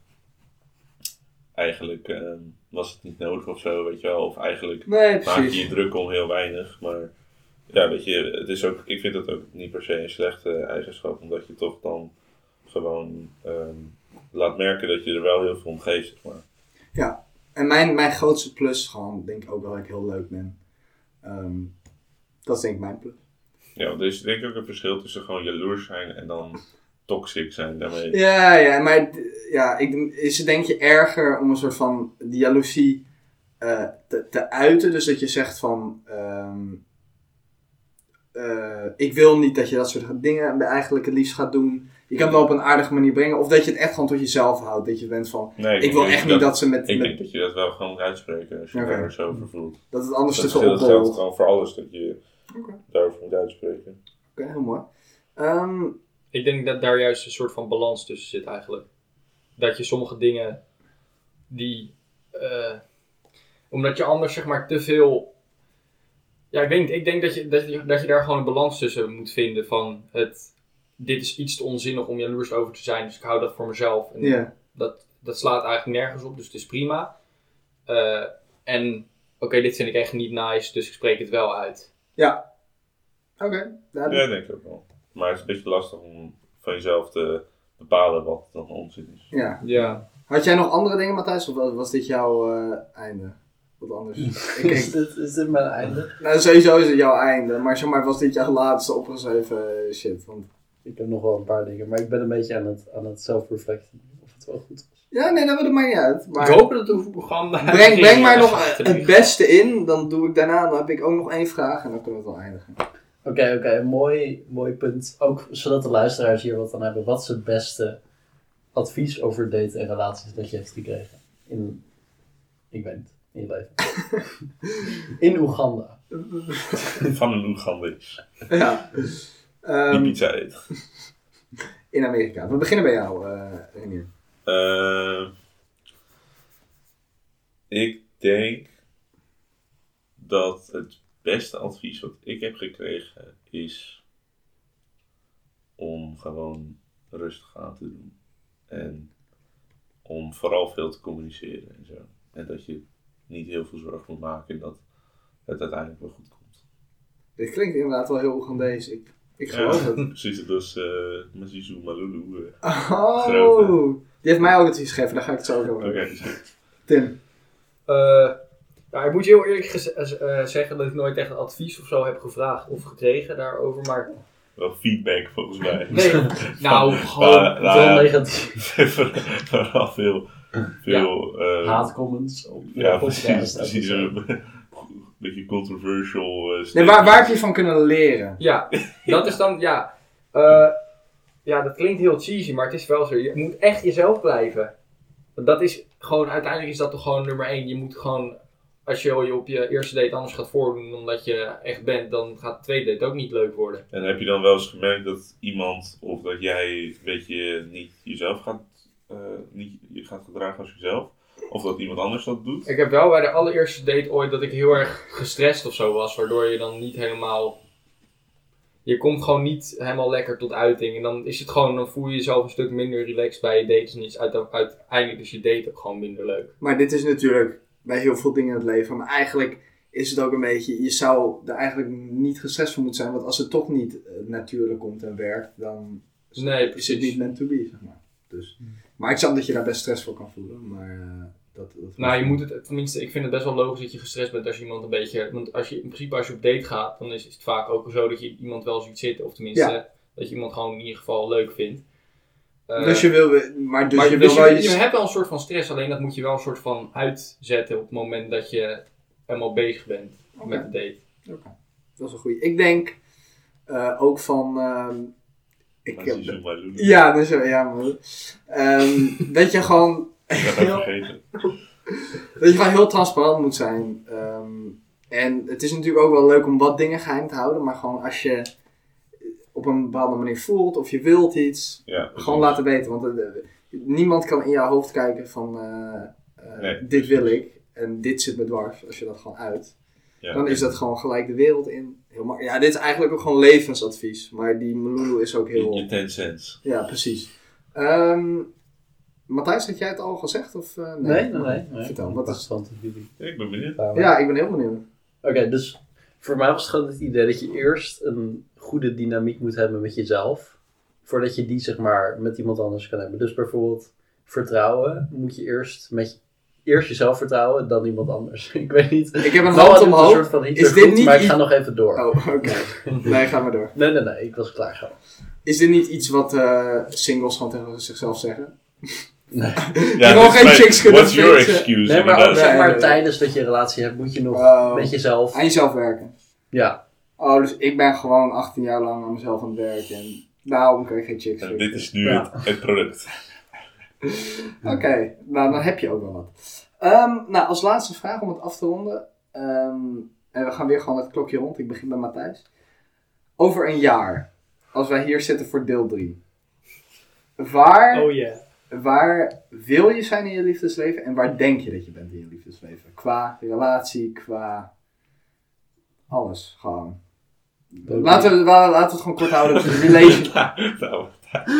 Speaker 3: Eigenlijk ehm, was het niet nodig of zo, weet je wel. Of eigenlijk
Speaker 1: Nee,
Speaker 3: maak je je
Speaker 1: precies.
Speaker 3: druk om heel weinig. Maar ja, weet je, het is ook, ik vind dat ook niet per se een slechte eigenschap, omdat je toch dan gewoon ehm, laat merken dat je er wel heel veel om geeft. zeg Maar
Speaker 1: En mijn, mijn grootste plus is gewoon, denk ik ook wel dat ik heel leuk ben. Ehm, dat is denk ik mijn plus.
Speaker 3: ja, er is denk ik ook een verschil tussen gewoon jaloers zijn en dan toxic zijn daarmee.
Speaker 1: Ja, ja, maar d- ja, ik, denk- is het denk je erger om een soort van die jaloezie eh, te, te uiten? Dus dat je zegt van, ehm, eh, ik wil niet dat je dat soort dingen eigenlijk het liefst gaat doen. Je kan het wel op een aardige manier brengen. Of dat je het echt gewoon tot jezelf houdt. Dat je bent van,
Speaker 3: Nee,
Speaker 1: ik wil
Speaker 3: denk
Speaker 1: echt niet dat ze met,
Speaker 3: Ik
Speaker 1: met
Speaker 3: denk dat je dat wel gewoon moet uitspreken als je
Speaker 1: Oké.
Speaker 3: daar zo voor voelt.
Speaker 1: dat het anders
Speaker 3: Dat
Speaker 1: te
Speaker 3: is
Speaker 1: veel
Speaker 3: dat geldt
Speaker 1: opbouwt. Oké,
Speaker 3: gewoon voor alles dat je
Speaker 1: Oké.
Speaker 3: daarover moet uitspreken.
Speaker 1: heel mooi. Ehm,
Speaker 5: Ik denk dat daar juist een soort van balans tussen zit eigenlijk. Dat je sommige dingen die... eh, omdat je anders zeg maar te veel... Ja, ik denk, ik denk dat, je, dat, je, dat je daar gewoon een balans tussen moet vinden van het... Dit is iets te onzinnig om jaloers over te zijn, dus ik hou dat voor mezelf. En
Speaker 1: ja.
Speaker 5: dat, dat slaat eigenlijk nergens op, dus het is prima. Eh, en oké, dit vind ik echt niet nice, dus ik spreek het wel uit.
Speaker 1: Oké,
Speaker 3: Ja,
Speaker 1: duidelijk.
Speaker 3: denk ik ook wel. Maar het is een beetje lastig om van jezelf te bepalen wat dan onzin
Speaker 1: <laughs>
Speaker 3: is.
Speaker 1: Ja.
Speaker 5: Ja.
Speaker 1: Had jij nog andere dingen, Matthijs? Of was dit jouw eh, einde? Wat
Speaker 5: <laughs>
Speaker 1: anders? ik, ik-
Speaker 4: Is Dus dit, is dit mijn einde?
Speaker 1: Nou, sowieso is het jouw einde, maar zeg maar, was dit jouw laatste opgeschreven eh, shit? Want,
Speaker 4: Ik heb nog wel een paar dingen, maar ik ben een beetje aan het, aan het zelfreflecten. Of het het wel goed was.
Speaker 1: Ja, nee, nou, dat maakt niet uit. Maar
Speaker 5: ik hoop dat het programma...
Speaker 1: breng, breng mij
Speaker 5: <laughs>
Speaker 1: nog
Speaker 5: achter de
Speaker 1: het
Speaker 5: rug.
Speaker 1: beste in, dan doe ik daarna, dan heb ik ook nog één vraag en dan kunnen we het wel eindigen.
Speaker 4: Oké, oké, mooi, mooi punt. Ook zodat de luisteraars hier wat aan hebben. Wat is het beste advies over daten en relaties dat je hebt gekregen? In, ik weet het, in je leven.
Speaker 1: <laughs>
Speaker 4: in Oeganda.
Speaker 3: Van een Oegandis.
Speaker 1: ja.
Speaker 3: Die
Speaker 1: Ehm,
Speaker 3: pizza eet.
Speaker 1: in Amerika. We beginnen bij jou, eh Renier.
Speaker 3: Eh, ik denk dat het beste advies wat ik heb gekregen is om gewoon rustig aan te doen. En om vooral veel te communiceren en zo. En dat je niet heel veel zorg moet maken en dat het uiteindelijk wel goed komt.
Speaker 1: Dit klinkt inderdaad wel heel Oegandees. Ik, ik geloof
Speaker 5: <laughs>
Speaker 1: het.
Speaker 3: Precies, dat is eh Mazizu Malulu. eh.
Speaker 1: Oh, die heeft mij ook het iets gegeven, daar ga ik het zo over
Speaker 3: Oké,
Speaker 1: hebben.
Speaker 3: dus-
Speaker 1: Tim.
Speaker 5: Eh, nou, ik moet je heel eerlijk gez- eh, zeggen dat ik nooit echt advies of zo heb gevraagd of gekregen daarover. <laughs> Maar
Speaker 3: <laughs> wel feedback volgens mij.
Speaker 5: nee, nou, gewoon...
Speaker 3: Maar, nou ja,
Speaker 4: Veel negatief.
Speaker 3: <laughs> Vooral veel, veel eh,
Speaker 4: Haatcomments. op-
Speaker 3: Ja,
Speaker 4: op-
Speaker 3: precies.
Speaker 4: podcast.
Speaker 3: precies een <laughs> beetje controversial. eh,
Speaker 1: Nee, waar, waar heb je van kunnen leren?
Speaker 5: Ja, dat is dan, ja. eh, ja, dat klinkt heel cheesy, maar het is wel zo. Je moet echt jezelf blijven. Want dat is gewoon, uiteindelijk is dat toch gewoon nummer één. Je moet gewoon, als je je op je eerste date anders gaat voordoen omdat je echt bent, dan gaat de tweede date ook niet leuk worden.
Speaker 3: En heb je dan wel eens gemerkt dat iemand of dat jij weet je, niet jezelf gaat, eh, niet, je gaat gedragen als jezelf? Of dat iemand anders dat doet?
Speaker 5: Ik heb wel bij de allereerste date ooit dat ik heel erg gestrest of zo was, waardoor je dan niet helemaal. Je komt gewoon niet helemaal lekker tot uiting. En dan is het gewoon, dan voel je jezelf een stuk minder relaxed bij je dates. En is uit- uiteindelijk is je date ook gewoon minder leuk.
Speaker 1: Maar dit is natuurlijk bij heel veel dingen in het leven. Maar eigenlijk is het ook een beetje, je zou er eigenlijk niet gestrest van moeten zijn. Want als het toch niet eh, natuurlijk komt en werkt, dan is-
Speaker 5: Dus Nee,
Speaker 1: is het
Speaker 5: precies. Hm.
Speaker 1: niet meant to be, zeg maar. Dus, maar ik snap dat je daar best stress voor kan voelen. Maar eh, dat, dat
Speaker 5: Nou, je moet het, tenminste, ik vind het best wel logisch dat je gestrest bent als je iemand een beetje. Want als je, in principe, als je op date gaat, dan is, is het vaak ook zo dat je iemand wel ziet zitten. Of tenminste, dat je iemand gewoon in ieder geval leuk vindt. Eh,
Speaker 1: dus je wil, we- maar dus
Speaker 5: maar
Speaker 1: je
Speaker 5: dus
Speaker 1: wil wel
Speaker 5: je,
Speaker 1: je-
Speaker 5: je hebt wel een soort van stress, alleen dat moet je wel een soort van uitzetten op het moment dat je helemaal bezig bent
Speaker 1: Oké.
Speaker 5: met de date.
Speaker 1: Dat is een goeie. Ik denk eh, ook van. ehm, ik
Speaker 3: Maar
Speaker 1: heb-
Speaker 3: ze zoeken maar doen.
Speaker 1: ja, dus, ja, maar. ehm, <laughs> dat je gewoon.
Speaker 3: Dat heb ik vergeten.
Speaker 1: Dat je gewoon heel transparant moet zijn. Ehm, en het is natuurlijk ook wel leuk om wat dingen geheim te houden, maar gewoon als je op een bepaalde manier voelt of je wilt iets,
Speaker 3: Ja, precies.
Speaker 1: gewoon laten weten. Want eh, eh, niemand kan in jouw hoofd kijken van eh, eh,
Speaker 3: Nee,
Speaker 1: dit wil ik en dit zit me dwars. Als je dat gewoon uit.
Speaker 3: Ja.
Speaker 1: Dan is dat gewoon gelijk de wereld in. Heel mak- ja, dit is eigenlijk ook gewoon levensadvies. Maar die Melulu is ook
Speaker 3: Je, je
Speaker 1: heel...
Speaker 3: 10 cents.
Speaker 1: Ja, precies. Ehm Matthijs, had jij het al gezegd? Of, eh,
Speaker 4: Nee, nee, nee. nee.
Speaker 1: Vertel, wat is...
Speaker 4: Interessant jullie.
Speaker 3: Ik ben benieuwd.
Speaker 4: Ja,
Speaker 1: Ja, ik ben heel benieuwd.
Speaker 4: Oké, dus voor mij was het gewoon het idee dat je eerst een goede dynamiek moet hebben met jezelf. Voordat je die zeg maar met iemand anders kan hebben. Dus bijvoorbeeld vertrouwen moet je eerst met eerst jezelf vertrouwen, dan iemand anders. <laughs> ik weet
Speaker 1: <laughs>
Speaker 4: niet.
Speaker 1: Ik heb een
Speaker 4: Nou,
Speaker 1: hand
Speaker 4: dit is Een soort
Speaker 1: omhoog.
Speaker 4: van
Speaker 1: Is dit niet
Speaker 4: maar ik
Speaker 1: iets-
Speaker 4: ga nog even door.
Speaker 1: Oh, oké. <laughs> Nee, ga maar door.
Speaker 4: Nee, nee, nee, ik was klaar gewoon.
Speaker 1: Is dit niet iets wat eh, singles gewoon tegen zichzelf zeggen?
Speaker 4: Nee.
Speaker 3: Ja,
Speaker 1: wil
Speaker 3: dus
Speaker 1: geen
Speaker 3: mijn-
Speaker 1: chicks kunnen
Speaker 3: What's your
Speaker 1: fixen.
Speaker 3: excuse?
Speaker 4: Nee, maar ook
Speaker 3: inderdaad.
Speaker 4: zeg
Speaker 1: Nee,
Speaker 4: maar
Speaker 1: nee.
Speaker 4: tijdens dat je een relatie hebt, moet je nog
Speaker 1: Oh.
Speaker 4: met jezelf.
Speaker 1: Aan jezelf werken.
Speaker 4: Ja,
Speaker 1: Oh, dus ik ben gewoon 18 jaar lang aan mezelf aan het werken. En daarom kan ik geen chicks
Speaker 3: En
Speaker 1: fixen.
Speaker 3: dit is nu
Speaker 4: Ja.
Speaker 3: het, het product. <laughs>
Speaker 1: Oké, nou dan heb je ook wel wat. Ehm, nou, als laatste vraag om het af te ronden. Ehm, en we gaan weer gewoon het klokje rond. Ik begin bij Matthijs. Over een jaar, als wij hier zitten voor deel 3. Waar,
Speaker 5: ja.
Speaker 1: waar wil je zijn in je liefdesleven en waar denk je dat je bent in je liefdesleven? Qua relatie, qua alles gewoon. Laten we, la- laten we het gewoon kort houden. Relation,
Speaker 4: <laughs>
Speaker 3: nou,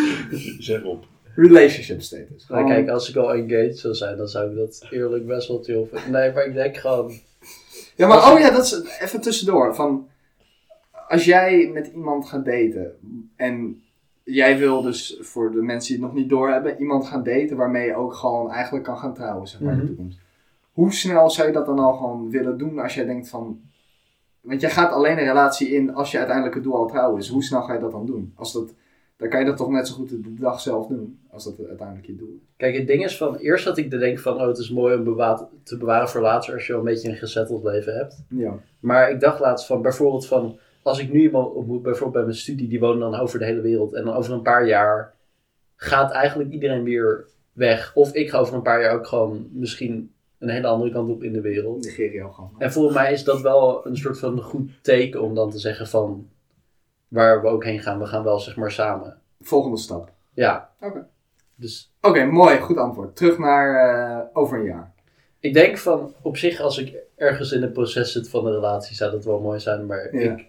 Speaker 3: <laughs> zeg op.
Speaker 1: relationship status.
Speaker 4: nou,
Speaker 1: Gewoon-
Speaker 4: kijk, als ik al engaged zou zijn, dan zou ik dat eerlijk best wel chill vinden. Nee, maar ik denk gewoon.
Speaker 1: Ja, maar
Speaker 4: Als je-
Speaker 1: oh ja, dat is even tussendoor. Van, als jij met iemand gaat daten en jij wil dus voor de mensen die het nog niet doorhebben, iemand gaan daten waarmee je ook gewoon eigenlijk kan gaan trouwen, zeg maar, in
Speaker 4: Mhm.
Speaker 1: de toekomst. Hoe snel zou je dat dan al gewoon willen doen als jij denkt van. Want jij gaat alleen een relatie in als je uiteindelijk het doel al trouwen is. Hoe snel ga je dat dan doen? Als dat, Dan kan je dat toch net zo goed de dag zelf doen, als dat uiteindelijk je doel is.
Speaker 4: Kijk, het ding is van, eerst had ik de denk van, oh, het is mooi om bewaard, te bewaren voor later als je al een beetje een gezetteld leven hebt.
Speaker 1: Ja.
Speaker 4: Maar ik dacht laatst van, bijvoorbeeld van, als ik nu iemand ontmoet, bijvoorbeeld bij mijn studie, die wonen dan over de hele wereld. En dan over een paar jaar gaat eigenlijk iedereen weer weg. Of ik ga over een paar jaar ook gewoon misschien een hele andere kant op in de wereld.
Speaker 1: Nigeria gewoon.
Speaker 4: En volgens mij is dat wel een soort van goed teken om dan te zeggen van, waar we ook heen gaan, we gaan wel zeg maar samen.
Speaker 1: Volgende stap.
Speaker 4: Ja.
Speaker 1: Oké.
Speaker 4: Dus
Speaker 1: Oké, mooi, goed antwoord. Terug naar eh, over een jaar.
Speaker 4: Ik denk van op zich, als ik ergens in het proces zit van de relatie, zou dat wel mooi zijn. Maar
Speaker 1: Ja.
Speaker 4: ik,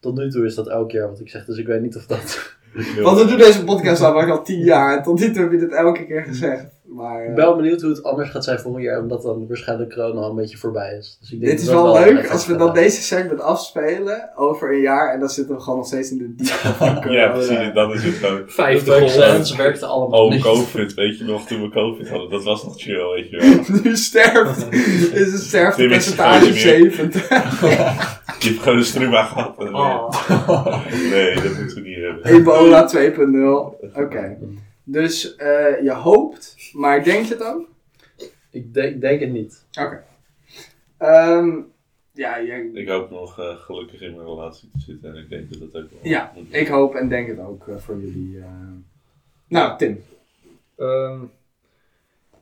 Speaker 4: tot nu toe is dat elk jaar wat ik zeg, dus ik weet niet of dat.
Speaker 1: Want we doen deze podcast al, maar al tien jaar. En tot nu toe heb je dit elke keer gezegd. Maar eh,
Speaker 4: Ik ben wel benieuwd hoe het anders gaat zijn volgend jaar, omdat dan waarschijnlijk corona al een beetje voorbij is. Dus ik denk
Speaker 1: dit is
Speaker 4: dat dat
Speaker 1: wel
Speaker 4: een
Speaker 1: leuk
Speaker 4: effect
Speaker 1: als we
Speaker 4: gaat
Speaker 1: dan deze segment afspelen over een jaar. En dan zitten we gewoon nog steeds in de diepte van corona.
Speaker 3: Ja,
Speaker 1: <laughs>
Speaker 3: precies. Dat is het gewoon.
Speaker 4: hebben.
Speaker 5: 50
Speaker 4: De vaccins
Speaker 5: golven.
Speaker 4: werkten allemaal
Speaker 3: Oh,
Speaker 4: niet.
Speaker 3: COVID. Weet je nog, toen we COVID hadden. Dat was nog chill, weet je wel.
Speaker 1: Nu sterft. Is het
Speaker 3: Tim is
Speaker 1: sterftepercentage
Speaker 3: gewoon niet
Speaker 1: 70.
Speaker 3: Je hebt gewoon een struma gehad. en, eh, Nee, dat moeten we niet hebben.
Speaker 1: <laughs> Ebola 2.0. Oké. Dus eh, je hoopt, maar denk je het ook?
Speaker 4: Ik denk, denk het niet.
Speaker 1: Oké. Ehm, ja, jij-
Speaker 3: Ik hoop nog eh, gelukkig in mijn relatie te zitten. En ik denk dat dat ook wel
Speaker 1: Ja,
Speaker 3: moet.
Speaker 1: ik hoop en denk het ook eh, voor jullie. eh. Nou,
Speaker 5: <laughs>
Speaker 1: Tim.
Speaker 5: Ehm,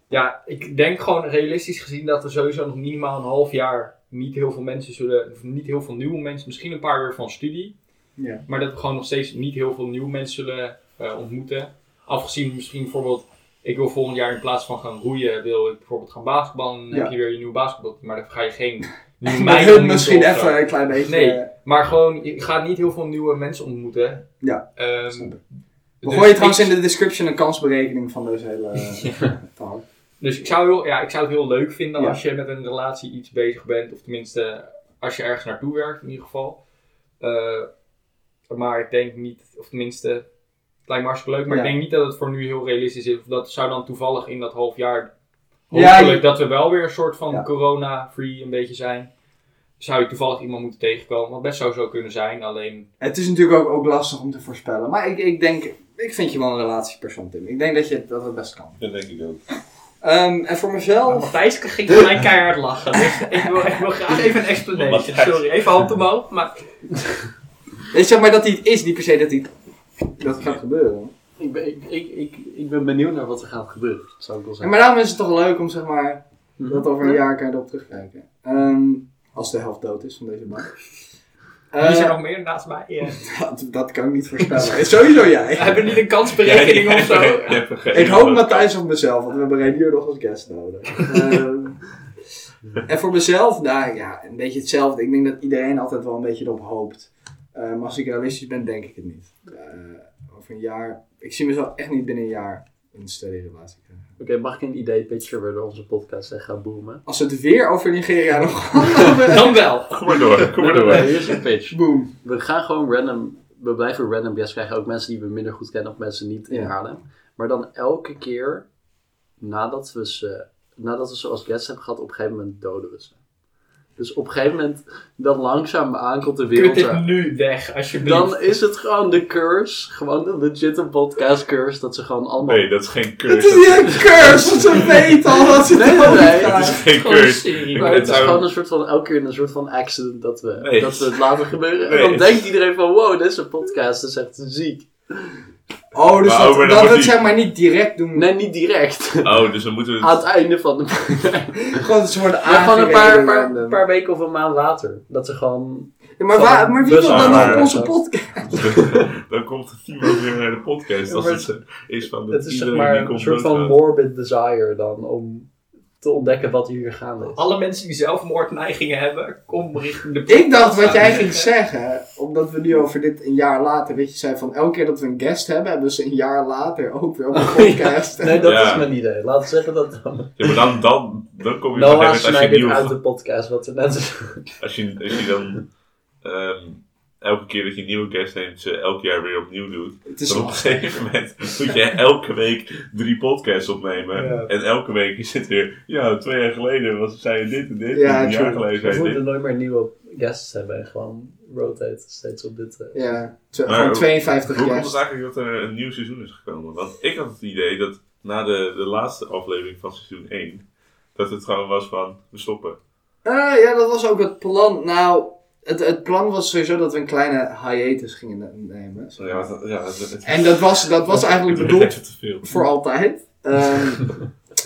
Speaker 5: ja, ik denk gewoon realistisch gezien dat er sowieso nog minimaal een half jaar niet heel veel mensen zullen, of niet heel veel nieuwe mensen, misschien een paar weer van studie.
Speaker 1: Ja.
Speaker 5: Maar dat we gewoon nog steeds niet heel veel nieuwe mensen zullen eh, ontmoeten. Afgezien misschien bijvoorbeeld, ik wil volgend jaar in plaats van gaan roeien, wil ik bijvoorbeeld gaan basketballen. Dan
Speaker 1: Ja.
Speaker 5: heb je weer je nieuwe basketbal, maar dan ga je
Speaker 1: <laughs>
Speaker 5: geen nieuwe
Speaker 1: Met
Speaker 5: meiden
Speaker 1: hun
Speaker 5: ontmoeten
Speaker 1: misschien
Speaker 5: of zo.
Speaker 1: even een klein beetje.
Speaker 5: Nee. ehm,
Speaker 1: eh,
Speaker 5: Maar gewoon, je gaat niet heel veel nieuwe mensen ontmoeten.
Speaker 1: Ja,
Speaker 5: Ehm,
Speaker 1: snap ik. we
Speaker 5: dus
Speaker 1: gooien trouwens
Speaker 5: ik-
Speaker 1: in de description een kansberekening van deze hele
Speaker 5: <laughs>
Speaker 1: eh, verhaal.
Speaker 5: Dus ik zou, heel, ja, ik zou het heel leuk vinden
Speaker 1: Ja.
Speaker 5: als je met een relatie iets bezig bent. Of tenminste, als je ergens naartoe werkt in ieder geval. Eh, maar ik denk niet, of tenminste, het lijkt me hartstikke leuk. Maar
Speaker 1: Ja.
Speaker 5: ik denk niet dat het voor nu heel realistisch is. Of dat zou dan toevallig in dat half jaar,
Speaker 1: Ja,
Speaker 5: hopelijk
Speaker 1: je-
Speaker 5: dat we wel weer een soort van
Speaker 1: Ja.
Speaker 5: corona-free een beetje zijn. Zou je toevallig iemand moeten tegenkomen. Wat best zou zo kunnen zijn, alleen...
Speaker 1: Het is natuurlijk ook, ook lastig om te voorspellen. Maar ik, ik denk, ik vind je wel een relatiepersoon, Tim. Ik denk dat je dat het best kan.
Speaker 3: Dat denk ik ook.
Speaker 1: Ehm, en voor mezelf.
Speaker 5: Oh, Matthijs ging voor mij keihard lachen. Dus ik wil, ik wil graag even een explanation.
Speaker 3: Matthijs.
Speaker 5: even hand omhoog. Maar
Speaker 1: Nee, zeg maar dat hij het is, niet per se dat hij. het- Dat gaat gebeuren.
Speaker 4: Ik ben, ik, ik, ik, ik ben benieuwd naar wat er gaat gebeuren. Dat zou ik wel
Speaker 1: En
Speaker 4: zeggen.
Speaker 1: maar daarom is het toch leuk om zeg maar.
Speaker 5: Mhm.
Speaker 1: Dat over een jaar kan je erop terugkijken. Ehm, als de helft dood is van deze man. Eh,
Speaker 5: wie is er nog meer naast mij? Eh,
Speaker 1: dat, dat kan ik niet <laughs> voorspellen. Sowieso jij.
Speaker 5: We <laughs> hebben niet een kansberekening of zo.
Speaker 1: Ik hoop Matthijs op mezelf, want we hebben Renier nog als guest nodig. Ehm, en voor mezelf, nou ja, een beetje hetzelfde. Ik denk dat iedereen altijd wel een beetje erop hoopt. Eh, maar als ik realistisch ben, denk ik het niet. Eh, over een jaar, ik zie mezelf echt niet binnen een jaar in een steady relatie krijgen.
Speaker 4: Oké, mag ik een idee pitcher weer door onze podcast en gaan boomen?
Speaker 1: Als we het weer over Nigeria nog <laughs> gaan
Speaker 5: Dan wel.
Speaker 3: Kom maar door, kom maar
Speaker 4: Oké,
Speaker 3: door.
Speaker 4: hier is een pitch.
Speaker 1: Boom.
Speaker 4: We gaan gewoon random, we blijven random guests krijgen. Ook mensen die we minder goed kennen of mensen niet in
Speaker 1: Ja.
Speaker 4: Haarlem. Maar dan elke keer nadat we ze, nadat we ze als guests hebben gehad, op een gegeven moment doden we ze. Dus op een gegeven moment, dan langzaam aankomt de
Speaker 5: Kut <laughs>
Speaker 4: wereld.
Speaker 5: dit
Speaker 4: aan.
Speaker 5: nu weg, alsjeblieft.
Speaker 4: Dan is het gewoon de curse, gewoon de legitte podcast curse, dat ze gewoon allemaal...
Speaker 3: Nee, dat is geen
Speaker 1: Het
Speaker 3: cursus.
Speaker 1: is niet een curse, ze weten al dat ze
Speaker 4: Nee,
Speaker 1: dood
Speaker 4: nee,
Speaker 1: gaan.
Speaker 3: Het
Speaker 4: het
Speaker 3: is geen
Speaker 5: Gewoon een
Speaker 3: cursus.
Speaker 5: serie.
Speaker 4: Maar
Speaker 3: Ik ben
Speaker 4: het is
Speaker 3: daar-
Speaker 4: gewoon een soort van, elke keer een soort van accident dat we,
Speaker 3: Nee.
Speaker 4: dat we het laten gebeuren.
Speaker 3: Nee.
Speaker 4: En dan denkt iedereen van, wow, dit is een podcast, dat is echt ziek.
Speaker 1: Oh, dus
Speaker 3: Maar
Speaker 1: dat,
Speaker 3: oh, maar dan
Speaker 1: dat we
Speaker 3: wordt
Speaker 1: het
Speaker 3: die-
Speaker 1: zeg maar niet direct doen.
Speaker 4: Nee, niet direct.
Speaker 3: Oh, dus dan moeten we
Speaker 4: Aan
Speaker 3: het...
Speaker 4: het einde van de... <laughs>
Speaker 1: Gewoon, ze worden
Speaker 4: Maar gewoon een paar,
Speaker 1: aangereden eh,
Speaker 4: paar,
Speaker 1: random.
Speaker 4: paar weken of een maand later. Dat ze gewoon.
Speaker 1: Ja, maar, waar, maar wie wil
Speaker 4: Dus
Speaker 1: dan
Speaker 3: maar-
Speaker 1: nog op onze podcast?
Speaker 3: <laughs> Dan komt het niemand meer naar de podcast. Als
Speaker 4: Maar
Speaker 3: het eh, is van dat
Speaker 4: Het is zeg
Speaker 3: iedereen die
Speaker 4: maar een
Speaker 3: komt
Speaker 4: soort van
Speaker 3: doodgaat.
Speaker 4: morbid desire dan. Om te ontdekken wat hier gaande
Speaker 3: <laughs>
Speaker 4: is.
Speaker 5: Alle mensen die zelfmoordneigingen hebben, kom richting de...
Speaker 1: Ik dacht wat jij ging zeggen, omdat we nu over dit een jaar later, weet je, zei van elke keer dat we een guest hebben, hebben ze een jaar later ook weer op
Speaker 3: Oh,
Speaker 1: een
Speaker 3: <laughs>
Speaker 1: podcast.
Speaker 4: Nee, dat
Speaker 3: Ja.
Speaker 4: is mijn idee. Laten we zeggen dat dan.
Speaker 3: Ja, maar dan, dan, dan kom je op een
Speaker 4: Noah
Speaker 3: gegeven moment als je
Speaker 4: snijdt dit uit
Speaker 3: <laughs> nieuw...
Speaker 4: de podcast. Wat ze net
Speaker 3: Als je, als je dan... ehm, elke keer dat je een nieuwe guest neemt, ze elk jaar weer opnieuw doet.
Speaker 1: Het is
Speaker 3: Dan op een gegeven moment moet je elke week drie podcasts opnemen.
Speaker 4: Ja.
Speaker 3: En elke week is het weer, ja, twee jaar geleden was, zei je dit en dit.
Speaker 1: Ja,
Speaker 3: en een jaar
Speaker 1: true.
Speaker 3: geleden
Speaker 4: We
Speaker 3: zei je
Speaker 4: moeten
Speaker 3: dit.
Speaker 4: nooit meer nieuwe guests hebben en gewoon rotate steeds op dit. eh.
Speaker 1: Ja, tw-
Speaker 3: Maar
Speaker 1: gewoon
Speaker 3: hoe-
Speaker 1: 52
Speaker 3: Hoe komt het
Speaker 1: jaar.
Speaker 3: eigenlijk dat er een nieuw seizoen is gekomen? Want ik had het idee dat na de, de laatste aflevering van seizoen 1, dat het gewoon was van, we stoppen.
Speaker 1: Eh, ja, dat was ook het plan. Nou, het, het plan was sowieso dat we een kleine hiatus gingen ne- nemen. zeg maar.
Speaker 3: Ja, ja, het, het-
Speaker 1: En dat was, dat was
Speaker 3: <laughs>
Speaker 1: eigenlijk
Speaker 3: het
Speaker 1: bedoeld
Speaker 3: werd te veel.
Speaker 1: voor altijd. Ehm,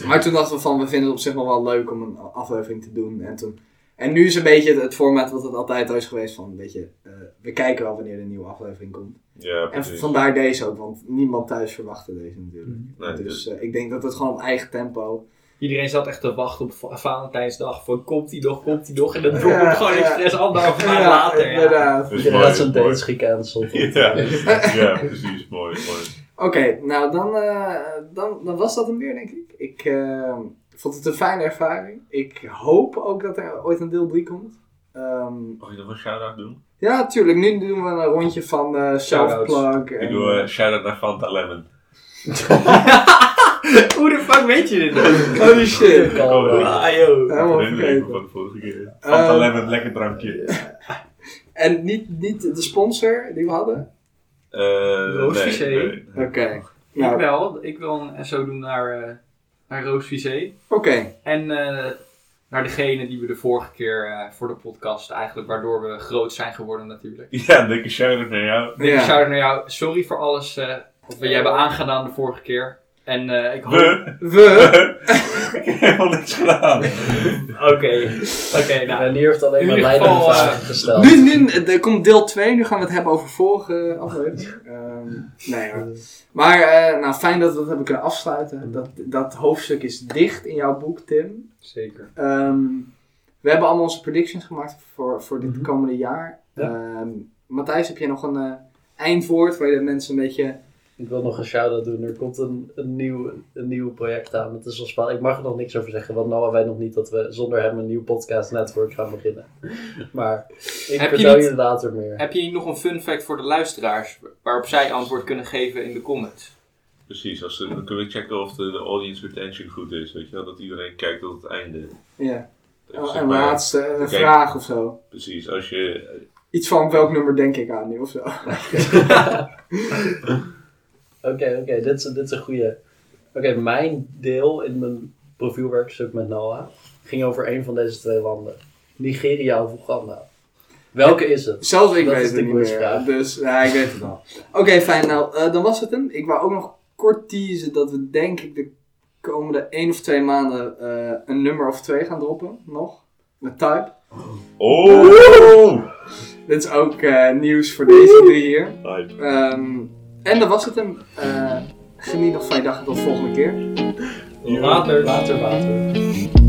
Speaker 1: maar toen dachten we van, we vinden het op zich nog wel leuk om een aflevering te doen. En, toen, en nu is een beetje het, het format wat het altijd al is geweest van, weet je, eh, we kijken wel wanneer er een nieuwe aflevering komt.
Speaker 3: Ja,
Speaker 1: En
Speaker 3: precies.
Speaker 1: vandaar deze ook, want niemand thuis verwachtte deze natuurlijk.
Speaker 3: Nee,
Speaker 1: dus eh, ik denk dat het gewoon op eigen tempo.
Speaker 5: Iedereen zat echt te wachten op Va- Valentijnsdag. Van komt die nog, komt die nog. En dan drop
Speaker 1: Ja,
Speaker 5: ik gewoon
Speaker 1: ja.
Speaker 5: expres anderhalve maand later. Ja.
Speaker 1: inderdaad.
Speaker 3: dus
Speaker 4: Iedereen had zijn
Speaker 3: mooi.
Speaker 4: dates
Speaker 3: <laughs>
Speaker 4: gecanceld.
Speaker 3: Ja, ja, precies. Mooi, mooi.
Speaker 1: Oké, nou dan, eh, dan, dan was dat hem weer, denk ik. Ik eh, vond het een fijne ervaring. Ik hoop ook dat er ooit een deel 3 komt. Ehm,
Speaker 3: Mag ik nog een shout-out doen?
Speaker 1: ja, tuurlijk. Nu doen we een rondje van eh self-plug.
Speaker 3: Ik
Speaker 1: en-
Speaker 3: doe eh, shout-out naar Fanta Lemon.
Speaker 5: Hoe de fuck weet je dit nou? dan?
Speaker 3: eh,
Speaker 1: <laughs> Holy
Speaker 3: <laughs>
Speaker 1: shit.
Speaker 4: Kalm, eh.
Speaker 5: Ah, joh.
Speaker 1: Helemaal
Speaker 3: Herinnering
Speaker 1: vergeten.
Speaker 3: van de vorige keer. Fanta
Speaker 1: Ehm,
Speaker 3: Lemon, lekker drankje.
Speaker 1: En niet, niet de sponsor die we hadden.
Speaker 3: Eh,
Speaker 5: Roos
Speaker 3: nee,
Speaker 5: Vissé.
Speaker 3: nee.
Speaker 1: Oké.
Speaker 5: Ik
Speaker 1: Nou,
Speaker 5: wel. Ik wil een SO doen naar, eh naar Roos Vissé.
Speaker 1: oké.
Speaker 5: En eh, naar degene die we de vorige keer eh, voor de podcast eigenlijk, waardoor we groot zijn geworden natuurlijk.
Speaker 3: Ja, dikke shout-out naar jou.
Speaker 5: Dikke
Speaker 1: Ja.
Speaker 5: shout-out naar jou. Sorry voor alles eh, wat we je hebben aangedaan de vorige keer. En eh, ik hoop...
Speaker 3: We. <laughs>
Speaker 1: We.
Speaker 3: ik heb helemaal niks gedaan.
Speaker 5: Oké, oké, nou.
Speaker 4: Renier heeft alleen
Speaker 5: In
Speaker 4: maar
Speaker 5: ieder
Speaker 4: leidende
Speaker 5: geval, eh,
Speaker 4: vragen gesteld.
Speaker 1: Nu, nu, er komt deel 2, nu gaan we het hebben over vorige
Speaker 3: <laughs>
Speaker 1: aflevering. Ehm, nee hoor. Maar eh, nou, fijn dat we dat hebben kunnen afsluiten. Dat, dat hoofdstuk is dicht in jouw boek, Tim.
Speaker 5: Zeker.
Speaker 1: Ehm, we hebben allemaal onze predictions gemaakt voor, voor dit
Speaker 4: Mhm.
Speaker 1: komende jaar.
Speaker 4: Ja.
Speaker 1: Ehm, Matthijs, heb jij nog een eh, eindwoord waar je de mensen een beetje...
Speaker 4: Ik wil nog een shout-out doen. Er komt een, een, nieuw, een nieuw project aan. Het is wel spannend. Ik mag er nog niks over zeggen, want Noah weet nog niet dat we zonder hem een nieuw podcast network gaan beginnen. <laughs> Maar ik
Speaker 5: Heb je
Speaker 4: vertel
Speaker 5: niet-
Speaker 4: je later meer.
Speaker 5: Heb je nog een fun fact voor de luisteraars, waarop zij antwoord kunnen geven in de comments?
Speaker 3: Precies, als, ze- dan kunnen we checken of de, de audience retention goed is. Weet je wel, dat iedereen kijkt tot het einde.
Speaker 1: Ja,
Speaker 3: Dat is
Speaker 1: een
Speaker 3: zeg maar-
Speaker 1: laatste eh,
Speaker 3: Oké.
Speaker 1: vraag of zo.
Speaker 3: Precies, als je...
Speaker 1: Iets van welk nummer denk ik aan nu of zo.
Speaker 4: Oké, oké, dit, is- dit is een goede. Oké, mijn deel in mijn profielwerkstuk met Noah ging over een van deze twee landen: Nigeria of Oeganda. Welke is
Speaker 1: <laughs>
Speaker 4: het?
Speaker 1: Zelfs ik
Speaker 4: Dat
Speaker 1: weet
Speaker 4: is
Speaker 1: het
Speaker 4: de
Speaker 1: niet
Speaker 4: quizvraag.
Speaker 1: meer. Dus ja, ik weet het <laughs> al. Oké, fijn. Nou, eh, dan was het hem. Ik wou ook nog kort teasen dat we denk ik de komende één of twee maanden eh, een nummer of twee gaan droppen. Nog. Met Type.
Speaker 3: Oh!
Speaker 1: Dit is ook eh, nieuws voor deze drie hier.
Speaker 3: Hype.
Speaker 1: Ehm, en dan was het hem. Eh, geniet nog van je dag en tot de volgende keer.
Speaker 5: Later.
Speaker 4: Water, water.